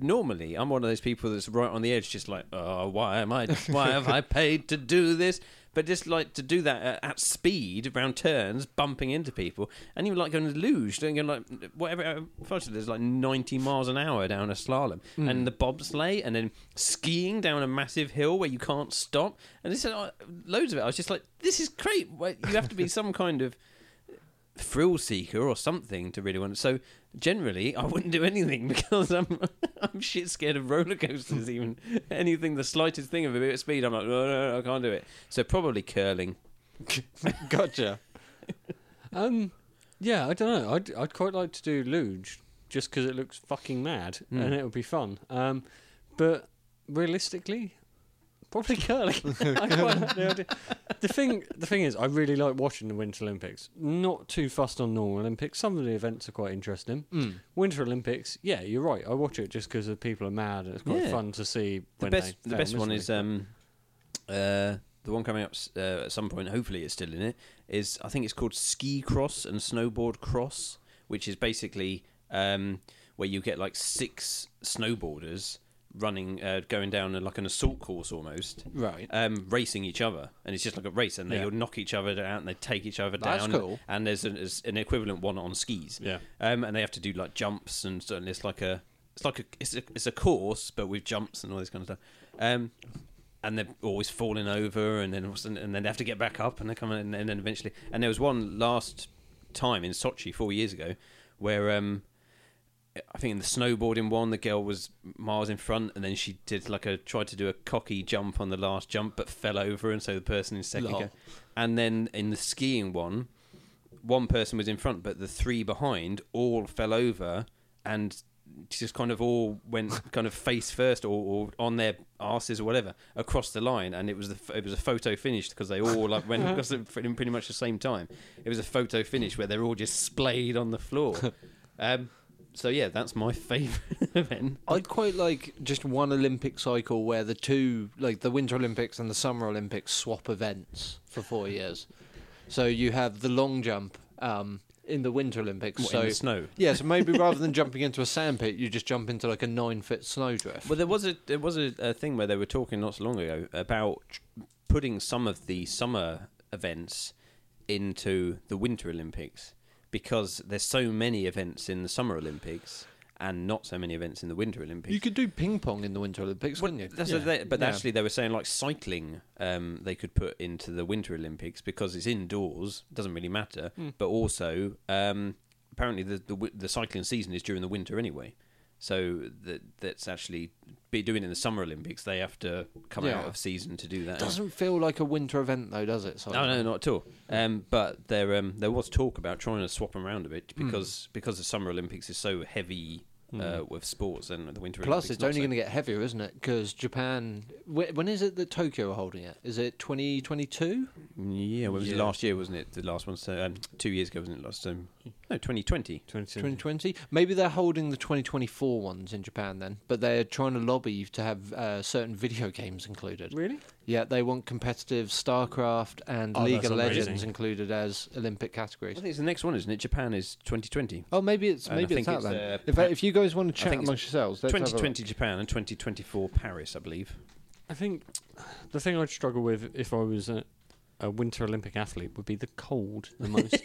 Speaker 3: Normally, I'm one of those people that's right on the edge, just like, oh, why am I? Why have I paid to do this? But just like to do that at, at speed, round turns, bumping into people, and even like going to luge, doing like whatever. uh, First, there's like 90 miles an hour down a slalom, and the bobsleigh, and then skiing down a massive hill where you can't stop. And this, uh, loads of it. I was just like, this is great. Why- You have to be some kind of thrill seeker or something to really want. So generally, I wouldn't do anything because I'm I'm shit scared of roller coasters. Even anything, the slightest thing of a bit of speed, I'm like, no, no, no, I can't do it. So probably curling.
Speaker 2: gotcha.
Speaker 1: Um, yeah, I don't know. I'd I'd quite like to do luge just because it looks fucking mad
Speaker 3: Hmm.
Speaker 1: and it would be fun. Um, but realistically, probably curling. I quite like the idea. The thing the thing is, I really like watching the Winter Olympics. Not too fussed on normal Olympics. Some of the events are quite interesting.
Speaker 2: Mm.
Speaker 1: Winter Olympics, yeah, you're right. I watch it just because the people are mad and it's quite
Speaker 3: Yeah.
Speaker 1: fun to see.
Speaker 3: The
Speaker 1: when
Speaker 3: best,
Speaker 1: they
Speaker 3: the
Speaker 1: fail
Speaker 3: best one
Speaker 1: miserably.
Speaker 3: is um, uh, the one coming up s- uh, at some point. Hopefully, it's still in it. Is I think it's called ski cross and snowboard cross, which is basically um, where you get like six snowboarders running, uh, going down a, like an assault course almost.
Speaker 2: Right.
Speaker 3: um, racing each other, and it's just like a race, and they
Speaker 1: Yeah.
Speaker 3: will knock each other out and they take each other
Speaker 2: That's
Speaker 3: down.
Speaker 2: cool.
Speaker 3: And there's an, there's an equivalent one on skis.
Speaker 1: Yeah.
Speaker 3: Um, and they have to do like jumps and, so- and it's like a it's like a it's a it's a course, but with jumps and all this kind of stuff. Um, and they're always falling over, and then all of a sudden- and then they have to get back up, and they come in, and, then eventually. And there was one last time in Sochi four years ago, where um, I think in the snowboarding one, the girl was miles in front, and then she did like a tried to do a cocky jump on the last jump, but fell over, and so the person in second.
Speaker 2: Lol.
Speaker 3: ca- And then in the skiing one, one person was in front, but the three behind all fell over and just kind of all went kind of face first or, or on their asses or whatever across the line, and it was the it was a photo finish because they all like went across it pretty pretty much the same time. It was a photo finish where they're all just splayed on the floor. Um, so yeah, that's my favourite event.
Speaker 2: I'd quite like just one Olympic cycle where the two, like the Winter Olympics and the Summer Olympics, swap events for four years. So you have the long jump um, in the Winter Olympics.
Speaker 3: What,
Speaker 2: so
Speaker 3: in the snow.
Speaker 2: yeah, so maybe rather than jumping into a sandpit, you just jump into like a nine-foot snowdrift.
Speaker 3: Well, there was a there was a, a thing where they were talking not so long ago about tr- putting some of the summer events into the Winter Olympics because there's so many events in the Summer Olympics and not so many events in the Winter Olympics.
Speaker 2: You could do ping pong in the Winter Olympics,
Speaker 3: Well,
Speaker 2: wouldn't you?
Speaker 3: that's what they- but
Speaker 2: Yeah.
Speaker 3: actually, they were saying like cycling, um, they could put into the Winter Olympics because it's indoors, doesn't really matter.
Speaker 2: Hmm.
Speaker 3: But also, um, apparently, the, the wi- the cycling season is during the winter anyway. So that that's actually be doing it in the Summer Olympics. They have to come
Speaker 2: Yeah.
Speaker 3: out of season to do that.
Speaker 2: Doesn't Hmm. feel like a winter event though, does it?
Speaker 3: uh, No, no, not at all. Um, but there, um, there was talk about trying to swap 'em around a bit
Speaker 2: Hmm.
Speaker 3: because because the Summer Olympics is so heavy uh, with sports and the Winter
Speaker 2: Plus,
Speaker 3: Olympics.
Speaker 2: it's
Speaker 3: not
Speaker 2: only
Speaker 3: so.
Speaker 2: going to get heavier, isn't it? Because Japan. Wh- when is it that Tokyo are holding it? Is it 2022?
Speaker 3: Yeah, well, it was
Speaker 1: Yeah.
Speaker 3: last year, wasn't it? The last one, so um, two years ago, wasn't it? Last time, no, twenty twenty.
Speaker 1: 20,
Speaker 2: 2020? Maybe they're holding the 2024 ones in Japan then, but they're trying to lobby to have uh, certain video games included.
Speaker 1: really?
Speaker 2: Yeah, they want competitive StarCraft and
Speaker 1: Oh,
Speaker 2: League
Speaker 1: that's
Speaker 2: of Legends
Speaker 1: amazing.
Speaker 2: included as Olympic
Speaker 3: I
Speaker 2: categories.
Speaker 3: think it's the next one, isn't it? Japan is twenty twenty.
Speaker 2: Oh, maybe it's
Speaker 3: And I
Speaker 2: maybe it's
Speaker 3: think
Speaker 2: that
Speaker 3: it's,
Speaker 2: then.
Speaker 3: uh,
Speaker 4: If, if you guys want to chat
Speaker 3: think it's
Speaker 4: amongst yourselves, let's have a
Speaker 3: Twenty
Speaker 4: look.
Speaker 3: twenty Japan and twenty twenty four Paris, I believe.
Speaker 1: I think the thing I'd struggle with if I was a, a Winter Olympic athlete would be the cold the most.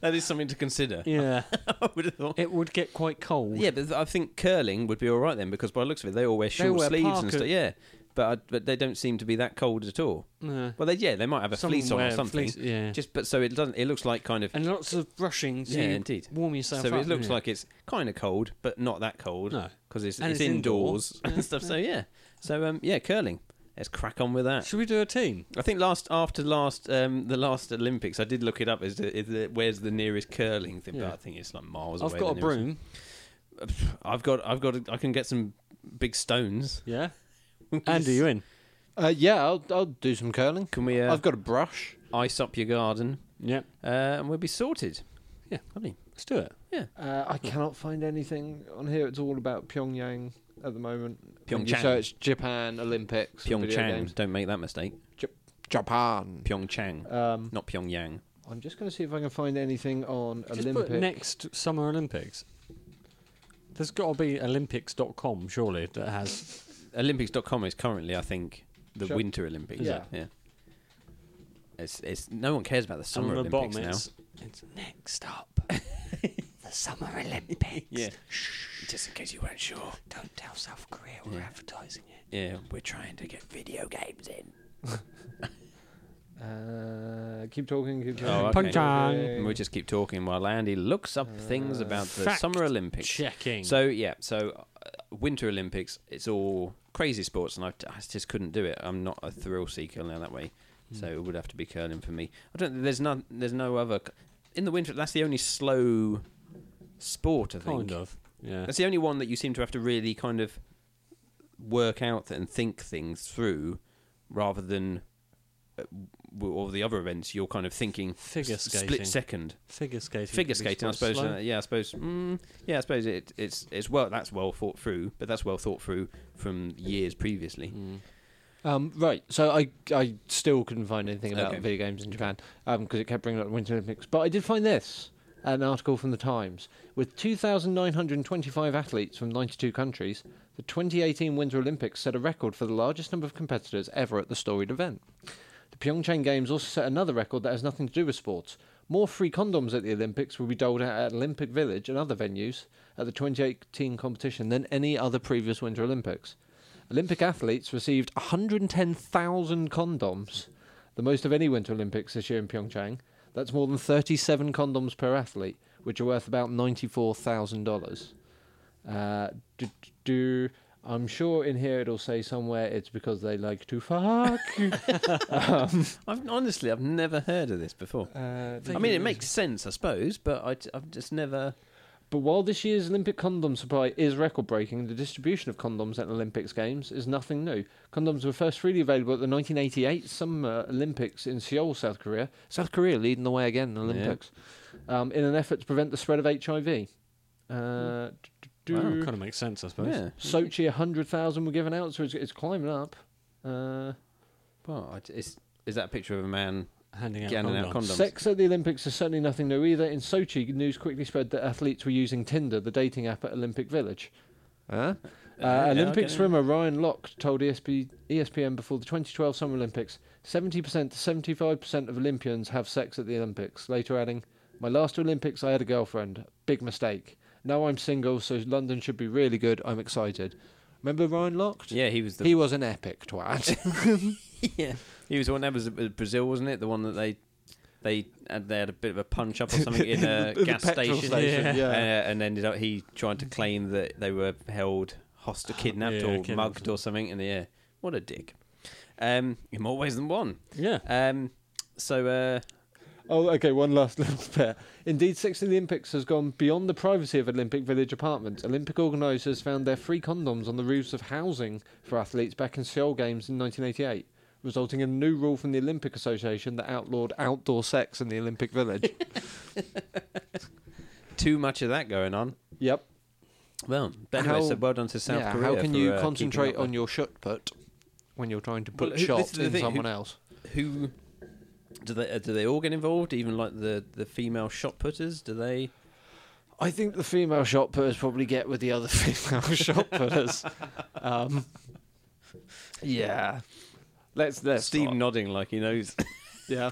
Speaker 3: That is something to consider.
Speaker 1: yeah,
Speaker 3: I would have thought.
Speaker 1: it would get quite cold.
Speaker 3: Yeah, but I think curling would be all right then, because by the looks of it, they all wear short
Speaker 1: wear
Speaker 3: sleeves and
Speaker 1: parka-
Speaker 3: stuff. Yeah, but I, but they don't seem to be that cold at all.
Speaker 1: Yeah.
Speaker 3: Well, they yeah, they might have a
Speaker 1: Some
Speaker 3: fleece on or
Speaker 1: wear
Speaker 3: something.
Speaker 1: fleece- yeah.
Speaker 3: Just but so it doesn't. It looks like kind of
Speaker 1: and lots of brushing to
Speaker 3: Yeah, indeed.
Speaker 1: warm yourself
Speaker 3: so
Speaker 1: up.
Speaker 3: it looks
Speaker 1: yeah.
Speaker 3: like it's kind of cold, but not that cold.
Speaker 1: No.
Speaker 3: because it's,
Speaker 1: And
Speaker 3: it's,
Speaker 1: it's
Speaker 3: indoors,
Speaker 1: indoors.
Speaker 3: and stuff. So yeah, so um, yeah, curling. Let's crack on with that.
Speaker 1: Should we do a team?
Speaker 3: I think last after last um, the last Olympics, I did look it up. Is, the, is the, where's the nearest curling thing?
Speaker 1: Yeah.
Speaker 3: But I think it's like miles
Speaker 1: I've
Speaker 3: away.
Speaker 1: got
Speaker 3: the
Speaker 1: a
Speaker 3: nearest-
Speaker 1: broom.
Speaker 3: I've got I've got a, I can get some big stones.
Speaker 1: Yeah. Andy, you in?
Speaker 2: Uh, yeah, I'll, I'll do some curling.
Speaker 3: Can we uh,
Speaker 2: I've got a brush.
Speaker 3: ice up your garden
Speaker 1: Yep.
Speaker 3: uh, and we'll be sorted?
Speaker 1: Yeah.
Speaker 3: lovely.
Speaker 1: Let's do it.
Speaker 4: Uh, I cannot find anything on here. It's all about Pyongyang at the moment.
Speaker 2: You search Japan Olympics. and video
Speaker 3: Pyeongchang.
Speaker 2: games.
Speaker 3: Don't make that mistake.
Speaker 2: Japan.
Speaker 3: Pyeongchang,
Speaker 4: Um,
Speaker 3: not Pyongyang.
Speaker 4: I'm just going to see if I can find anything on
Speaker 1: Just put
Speaker 4: Olympic.
Speaker 1: next Summer Olympics. There's got to be Olympics.com, surely, that has.
Speaker 3: Olympics.com is currently, I think, the
Speaker 4: Sure.
Speaker 3: Winter Olympics.
Speaker 4: Yeah.
Speaker 3: yeah. It's, it's no one cares about the Summer
Speaker 1: on the
Speaker 3: Olympics
Speaker 1: bottom,
Speaker 3: now.
Speaker 1: it's, it's next up. the Summer Olympics.
Speaker 3: Yeah. Just in case you weren't sure.
Speaker 1: Don't tell South Korea we're advertising it.
Speaker 3: Yeah, we're trying to get video games in.
Speaker 4: Uh, keep talking, keep talking.
Speaker 3: Oh,
Speaker 4: keep
Speaker 3: okay.
Speaker 1: Pyongyang.
Speaker 4: talking.
Speaker 3: And we just keep talking while Andy looks up things about the
Speaker 1: Uh, fact
Speaker 3: Summer Olympics.
Speaker 1: Checking.
Speaker 3: So yeah, so uh, Winter Olympics, it's all crazy sports, and I, I just couldn't do it. I'm not a thrill seeker now that way,
Speaker 1: Hmm.
Speaker 3: so it would have to be curling for me. I don't. There's no. There's no other. c- In the winter, that's the only slow sport. I think
Speaker 1: kind of. Yeah.
Speaker 3: that's the only one that you seem to have to really kind of work out and think things through, rather than uh, w- all the other events. You're kind of thinking
Speaker 1: Figure
Speaker 3: s-
Speaker 1: skating.
Speaker 3: split second
Speaker 1: Figure skating.
Speaker 3: figure
Speaker 1: could be
Speaker 3: skating, I
Speaker 1: quite
Speaker 3: suppose.
Speaker 1: slow.
Speaker 3: uh, yeah, I suppose. Mm, yeah, I suppose it, it's it's well that's well thought through, but that's well thought through from years
Speaker 1: Mm.
Speaker 3: previously.
Speaker 2: Um, right, so I I still couldn't find anything about
Speaker 3: Okay.
Speaker 2: video games in Japan because it kept bringing up the Winter Olympics. But I did find this an article from the Times with 2,925 athletes from 92 countries. The 2018 Winter Olympics set a record for the largest number of competitors ever at the storied event. The Pyeongchang Games also set another record that has nothing to do with sports.
Speaker 4: More free condoms at the Olympics will be doled out at Olympic Village and other venues at the 2018 competition than any other previous Winter Olympics. Olympic athletes received 110,000 condoms, the most of any Winter Olympics this year in Pyeongchang. That's more than 37 condoms per athlete, which are worth about $94,000. Uh, do, do, I'm sure in here it'll say somewhere it's because they like to fuck. um,
Speaker 3: I've honestly, I've never heard of this before.
Speaker 4: uh,
Speaker 1: Thank
Speaker 3: I mean,
Speaker 1: you.
Speaker 3: it makes sense, I suppose, but I, have just never.
Speaker 4: But while this year's Olympic condom supply is record breaking, the distribution of condoms at Olympics Games is nothing new. Condoms were first freely available at the 1988 Summer Olympics in Seoul, South Korea. South Korea leading the way again in the
Speaker 3: Yeah.
Speaker 4: Olympics um, in an effort to prevent the spread of HIV. Uh, d- d-
Speaker 1: Wow,
Speaker 4: do-
Speaker 1: kind of makes sense, I suppose.
Speaker 3: Mm. Yeah.
Speaker 4: Sochi, 100,000 were given out, so it's, it's climbing up. Uh,
Speaker 3: Well, I- it's, is that a picture of a man
Speaker 1: Handing out
Speaker 3: getting
Speaker 1: condoms.
Speaker 3: out condoms?
Speaker 4: Sex at the Olympics is certainly nothing new either. In Sochi, news quickly spread that athletes were using Tinder, the dating app at Olympic Village. Huh? Uh,
Speaker 3: Yeah,
Speaker 4: Olympic
Speaker 3: okay.
Speaker 4: swimmer Ryan Locke told E ESP, ESPN before the 2012 Summer Olympics 70% to 75% of Olympians have sex at the Olympics, later adding, My last Olympics, I had a girlfriend. Big mistake. Now I'm single, so London should be really good. I'm excited. Remember Ryan Locke?
Speaker 3: Yeah, he was the
Speaker 4: He was an epic twat.
Speaker 3: yeah. He was the one that was uh, Brazil, wasn't it? The one that they they had, they had a bit of a punch up or something in a
Speaker 4: the
Speaker 3: gas
Speaker 4: petrol
Speaker 3: station,
Speaker 4: station,
Speaker 3: Uh,
Speaker 4: yeah.
Speaker 3: and ended up he tried to claim that they were held hostage, kidnapped,
Speaker 1: Yeah,
Speaker 3: or
Speaker 1: kidnapped.
Speaker 3: mugged or something. And yeah, what a dick. Um, in more ways than one.
Speaker 1: Yeah.
Speaker 3: Um, so uh,
Speaker 4: Oh, okay. One last little bit. Indeed, Six of the Olympics has gone beyond the privacy of Olympic Village apartments. Olympic organisers found their free condoms on the roofs of housing for athletes back in Seoul Games in 1988, resulting in a new rule from the Olympic Association that outlawed outdoor sex in the Olympic Village.
Speaker 3: too much of that going on.
Speaker 4: yep.
Speaker 3: Well, but anyway,
Speaker 4: How-
Speaker 3: so well done to South
Speaker 2: yeah,
Speaker 3: Korea.
Speaker 2: how can
Speaker 3: for,
Speaker 2: you
Speaker 3: uh,
Speaker 2: concentrate
Speaker 3: keeping up
Speaker 2: on your shot put when you're trying to
Speaker 3: Well, who-
Speaker 2: put
Speaker 3: this
Speaker 2: shots
Speaker 3: is the
Speaker 2: in
Speaker 3: thing, who-
Speaker 2: someone else?
Speaker 3: with- Who do they uh, do they all get involved? Even like the the female shot putters? Do they?
Speaker 2: I think the female shot putters probably get with the other female shot putters. Um, yeah.
Speaker 4: Let's let's.
Speaker 3: Steve nodding like he knows.
Speaker 2: Yeah.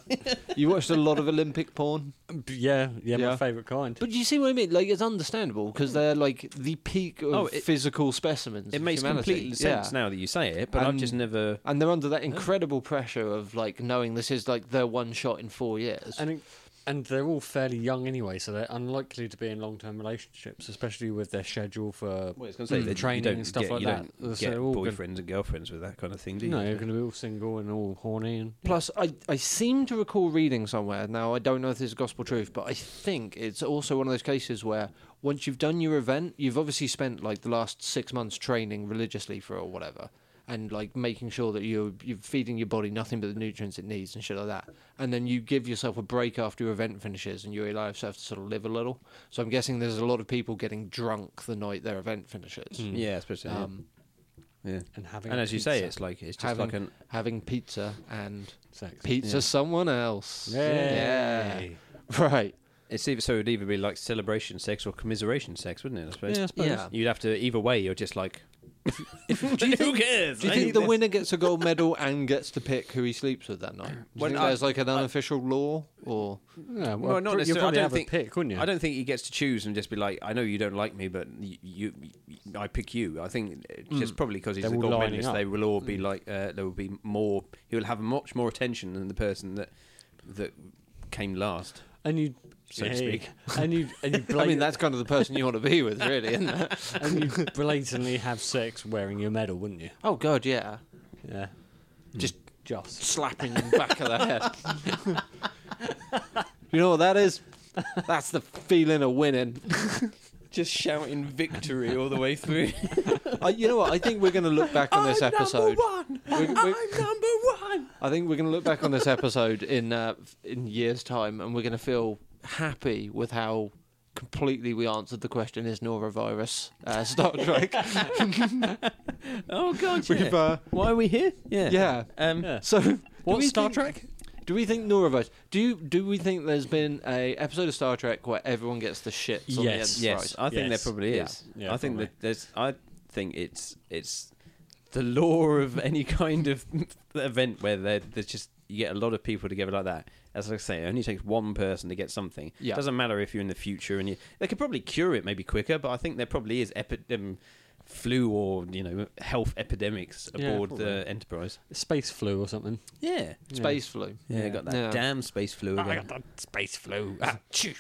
Speaker 2: You watched a lot of Olympic porn.
Speaker 1: B- yeah, yeah,
Speaker 4: Yeah.
Speaker 1: my favourite kind.
Speaker 2: But you see what I mean? Like, it's understandable because they're like the peak of
Speaker 3: Oh, it-
Speaker 2: physical specimens.
Speaker 3: It
Speaker 2: of
Speaker 3: makes
Speaker 2: humanity.
Speaker 3: complete sense
Speaker 2: Yeah.
Speaker 3: now that you say it, but I've
Speaker 2: Um,
Speaker 3: just never.
Speaker 2: And they're under that incredible pressure of like knowing this is like their one shot in four years.
Speaker 1: And and they're all fairly young anyway, so they're unlikely to be in long term relationships, especially with their schedule for
Speaker 3: Well, it's going
Speaker 1: say, Mm. that you training and stuff like
Speaker 3: you
Speaker 1: that.
Speaker 3: Don't
Speaker 1: So
Speaker 3: get
Speaker 1: all good-
Speaker 3: boyfriends and girlfriends with that kind of thing, do you?
Speaker 1: No, you're going to be all single and all horny and
Speaker 2: Plus, I, I seem to recall reading somewhere, now I don't know if this is gospel truth, but I think it's also one of those cases where once you've done your event, you've obviously spent like the last six months training religiously for it or whatever, and like making sure that you're, you're feeding your body nothing but the nutrients it needs and shit like that. And then you give yourself a break after your event finishes and you allow yourself to sort of live a little. So I'm guessing there's a lot of people getting drunk the night their event finishes.
Speaker 1: Mm.
Speaker 3: Yeah, especially. yeah.
Speaker 2: Um,
Speaker 3: yeah.
Speaker 1: and having.
Speaker 3: And
Speaker 1: a
Speaker 3: as you say,
Speaker 1: pizza
Speaker 3: it's like it's just
Speaker 2: having-
Speaker 3: like an.
Speaker 2: having pizza and
Speaker 1: sex.
Speaker 2: pizza
Speaker 3: Yeah.
Speaker 2: someone else.
Speaker 1: yeah.
Speaker 2: Yeah. Right.
Speaker 3: It's either so it would either be like celebration sex or commiseration sex, wouldn't it? I suppose.
Speaker 1: Yeah, I suppose.
Speaker 2: Yeah.
Speaker 3: You'd have to either way. You're just like.
Speaker 2: do you think,
Speaker 3: who cares?
Speaker 2: do you
Speaker 3: I
Speaker 2: think
Speaker 3: hate
Speaker 2: the
Speaker 3: this.
Speaker 2: winner gets a gold medal and gets to pick who he sleeps with that night? Do you
Speaker 3: Well,
Speaker 2: think
Speaker 3: I-
Speaker 2: there's like an unofficial law, or
Speaker 1: Yeah, well,
Speaker 3: Well, not
Speaker 1: you
Speaker 3: necessarily. I
Speaker 1: probably
Speaker 3: don't
Speaker 1: have
Speaker 3: think-
Speaker 1: a pick, wouldn't you?
Speaker 3: I don't think he gets to choose and just be like, I know you don't like me, but you, you I pick you. I think it's just probably because he's
Speaker 1: They're
Speaker 3: the
Speaker 1: all
Speaker 3: gold
Speaker 1: lining
Speaker 3: medalist,
Speaker 1: up.
Speaker 3: they will all be like, uh, there will be more. He will have much more attention than the person that that came last.
Speaker 1: and you,
Speaker 3: So to speak.
Speaker 1: and you, and you.
Speaker 2: I mean,
Speaker 1: blat-
Speaker 2: that's kind of the person you want to be with, really, isn't it?
Speaker 1: and you blatantly have sex wearing your medal, wouldn't you?
Speaker 2: Oh God, yeah,
Speaker 1: Yeah.
Speaker 2: Just-
Speaker 1: just.
Speaker 2: slapping the back of the head. you know what that is? That's the feeling of winning.
Speaker 3: Just shouting victory all the way through.
Speaker 2: I, you know what? I think we're going to look back on this episode.
Speaker 3: one.
Speaker 2: We- we-
Speaker 3: number one.
Speaker 2: I think we're going to look back on this episode in uh, in years' time, and we're going to feel happy with how completely we answered the question: Is norovirus uh, Star Trek?
Speaker 3: Oh god, yeah.
Speaker 2: We've, uh,
Speaker 3: Why are we here? Yeah.
Speaker 2: yeah.
Speaker 3: Um,
Speaker 1: Yeah.
Speaker 2: So, do
Speaker 1: What
Speaker 2: we
Speaker 1: Star
Speaker 2: think-
Speaker 1: Trek?
Speaker 2: Do we think norovirus? Do you, do we think there's been a episode of Star Trek where everyone gets the shits on the
Speaker 1: Yes.
Speaker 2: end?
Speaker 3: Yes,
Speaker 1: right.
Speaker 3: I think
Speaker 1: Yes.
Speaker 3: there probably
Speaker 2: Yeah.
Speaker 3: is.
Speaker 1: Yeah,
Speaker 3: I think
Speaker 1: probably.
Speaker 3: that there's. I think it's it's the law of any kind of event where there- there's just you get a lot of people together like that, as I say, it only takes one person to get something.
Speaker 2: Yeah.
Speaker 3: It doesn't matter if you're in the future and you, they could probably cure it maybe quicker, but I think there probably is epi- um, flu or you know health epidemics
Speaker 1: Yeah,
Speaker 3: aboard
Speaker 1: probably.
Speaker 3: the Enterprise.
Speaker 1: Space flu or something.
Speaker 3: Yeah.
Speaker 1: Yeah.
Speaker 2: Space flu.
Speaker 3: Yeah, got that
Speaker 2: Yeah.
Speaker 3: damn space flu
Speaker 1: I
Speaker 3: again.
Speaker 1: got that space flu. Ah, choo.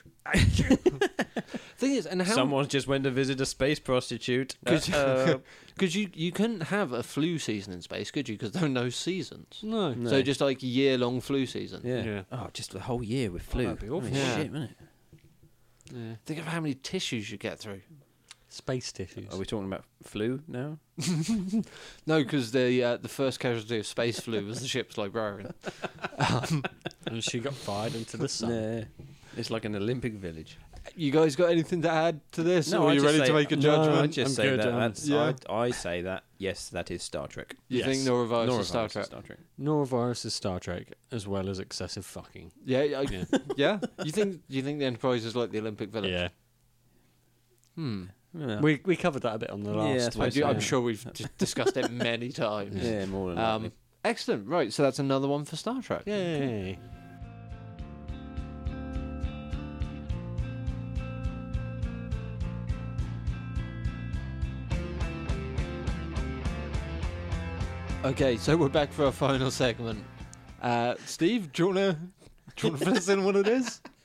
Speaker 2: Thing is, and how
Speaker 3: Someone just went to visit a space prostitute. Uh,
Speaker 2: Because you, you couldn't have a flu season in space, could you? Because there are no seasons.
Speaker 1: No.
Speaker 3: No.
Speaker 2: So just like year long flu season.
Speaker 3: yeah.
Speaker 1: Yeah.
Speaker 3: Oh, just the whole year with flu.
Speaker 1: that'd be awful.
Speaker 3: Holy
Speaker 2: Yeah.
Speaker 3: shit, wouldn't it?
Speaker 1: Yeah.
Speaker 2: Think of how many tissues you get through.
Speaker 1: Space tissues.
Speaker 3: Are we talking about flu now?
Speaker 2: No, because the uh, the first casualty of space flu was the ship's librarian.
Speaker 1: and she got fired into the sun.
Speaker 3: Nah. It's like an Olympic village.
Speaker 2: You guys got anything to add to this?
Speaker 3: No, I
Speaker 2: or are you
Speaker 3: just
Speaker 2: ready
Speaker 3: say-
Speaker 2: to make a
Speaker 1: no,
Speaker 3: I
Speaker 2: judgment?
Speaker 1: I'm-
Speaker 3: just
Speaker 1: I'm
Speaker 3: say
Speaker 1: good,
Speaker 3: that.
Speaker 1: um,
Speaker 3: That's,
Speaker 4: yeah.
Speaker 3: I, I say that. Yes, that is Star Trek.
Speaker 2: You
Speaker 1: Yes.
Speaker 2: think norovirus,
Speaker 3: Norovirus
Speaker 2: is Star
Speaker 3: is
Speaker 2: Trek?
Speaker 1: Norovirus is Star Trek, as well as excessive fucking.
Speaker 2: Yeah, I,
Speaker 1: Yeah.
Speaker 2: yeah. You think you think the Enterprise is like the Olympic Village?
Speaker 1: yeah.
Speaker 2: Hmm.
Speaker 3: Yeah.
Speaker 1: We, we covered that a bit on the
Speaker 3: Yeah,
Speaker 1: last
Speaker 3: I
Speaker 2: I
Speaker 1: one.
Speaker 3: suppose
Speaker 2: do, I'm
Speaker 3: Yeah.
Speaker 2: sure we've d- discussed it many times.
Speaker 3: yeah, more than
Speaker 2: Um,
Speaker 3: likely.
Speaker 2: excellent. Right. So that's another one for Star Trek.
Speaker 1: Yay.
Speaker 2: Okay, so we're back for our final segment. Uh, Steve, do you wanna do you wanna fill us in what it is?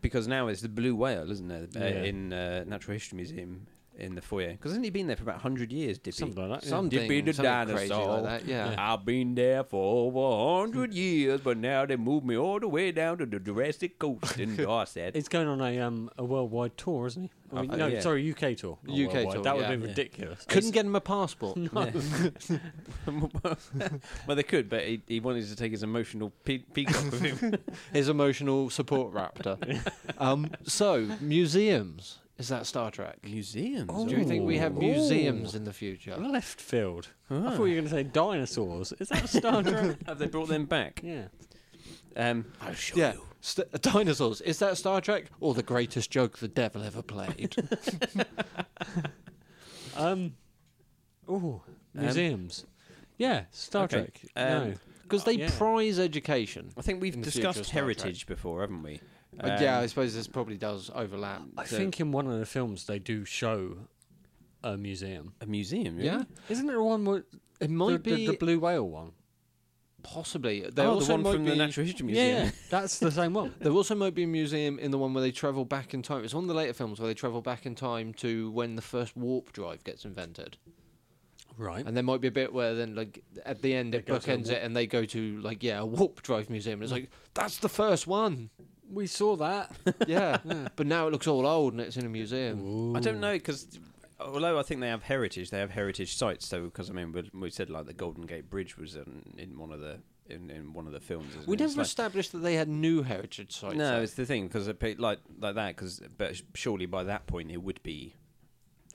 Speaker 3: because now it's the blue whale, isn't it? Uh,
Speaker 1: Yeah.
Speaker 3: In uh, Natural History Museum in the foyer. Because hasn't he been there for about hundred years? Dippy.
Speaker 1: Something like that. yeah.
Speaker 2: Something,
Speaker 3: Dippy the
Speaker 2: something crazy
Speaker 3: dinosaur.
Speaker 2: like that. Yeah.
Speaker 3: I've been there for over hundred years, but now they moved me all the way down to the Jurassic Coast in Dorset.
Speaker 1: He's going on a um a worldwide tour, isn't he? I mean,
Speaker 3: Uh,
Speaker 1: no,
Speaker 3: yeah.
Speaker 1: sorry, UK tour. not
Speaker 2: UK
Speaker 1: worldwide.
Speaker 2: tour,
Speaker 1: That would
Speaker 2: yeah.
Speaker 1: have been
Speaker 3: Yeah.
Speaker 1: ridiculous.
Speaker 2: Couldn't get him a passport.
Speaker 3: well, they could, but he, he wanted to take his emotional pe- peacock with him.
Speaker 2: His emotional support raptor. um, so museums is that Star Trek?
Speaker 3: Museums.
Speaker 2: Do you think we have
Speaker 1: Ooh.
Speaker 2: museums in the future?
Speaker 1: Left field. I thought you were going to say dinosaurs. Is that Star Trek?
Speaker 3: Have they brought them back?
Speaker 1: yeah.
Speaker 3: Um, I'll show
Speaker 2: Yeah, st- uh, dinosaurs. Is that Star Trek or the greatest joke the devil ever played?
Speaker 1: Um. Oh, museums. yeah, Star
Speaker 3: okay,
Speaker 1: Trek.
Speaker 3: um,
Speaker 1: no.
Speaker 2: Because they
Speaker 1: Yeah.
Speaker 2: prize education.
Speaker 3: I think we've
Speaker 2: in the future
Speaker 3: discussed
Speaker 2: Star Trek.
Speaker 3: heritage before, haven't we?
Speaker 2: Uh, yeah,
Speaker 3: Um,
Speaker 2: I suppose this probably does overlap.
Speaker 1: I
Speaker 3: so-
Speaker 1: think in one of the films they do show a museum.
Speaker 3: a museum. Really?
Speaker 2: Yeah,
Speaker 1: Isn't there one where
Speaker 2: it
Speaker 1: the,
Speaker 2: might
Speaker 1: the-
Speaker 2: be
Speaker 1: the blue whale one?
Speaker 2: possibly. There
Speaker 3: Oh, the
Speaker 2: also
Speaker 3: one
Speaker 2: might
Speaker 3: from
Speaker 2: be,
Speaker 3: the Natural History
Speaker 1: Yeah,
Speaker 3: Museum.
Speaker 1: yeah, that's the same one.
Speaker 2: There also might be a museum in the one where they travel back in time. It's one of the later films where they travel back in time to when the first warp drive gets invented.
Speaker 1: Right.
Speaker 2: And there might be a bit where then, like, at the end, it
Speaker 1: go to a Hmm.
Speaker 2: bookends it and they go to, like, yeah, a warp drive museum. It's like, that's the first one.
Speaker 1: We saw that.
Speaker 2: yeah. But now it looks all old and it's in a museum.
Speaker 1: Ooh.
Speaker 3: I don't know because although I think they have heritage, they have heritage sites. So because I mean, we, we said like the Golden Gate Bridge was in, in one of the in, in one of the films. Isn't
Speaker 2: We
Speaker 3: it? It's
Speaker 2: never
Speaker 3: like-
Speaker 2: established that they had new heritage sites.
Speaker 3: no,
Speaker 2: though.
Speaker 3: it's the thing because like like that because but sh- surely by that point it would be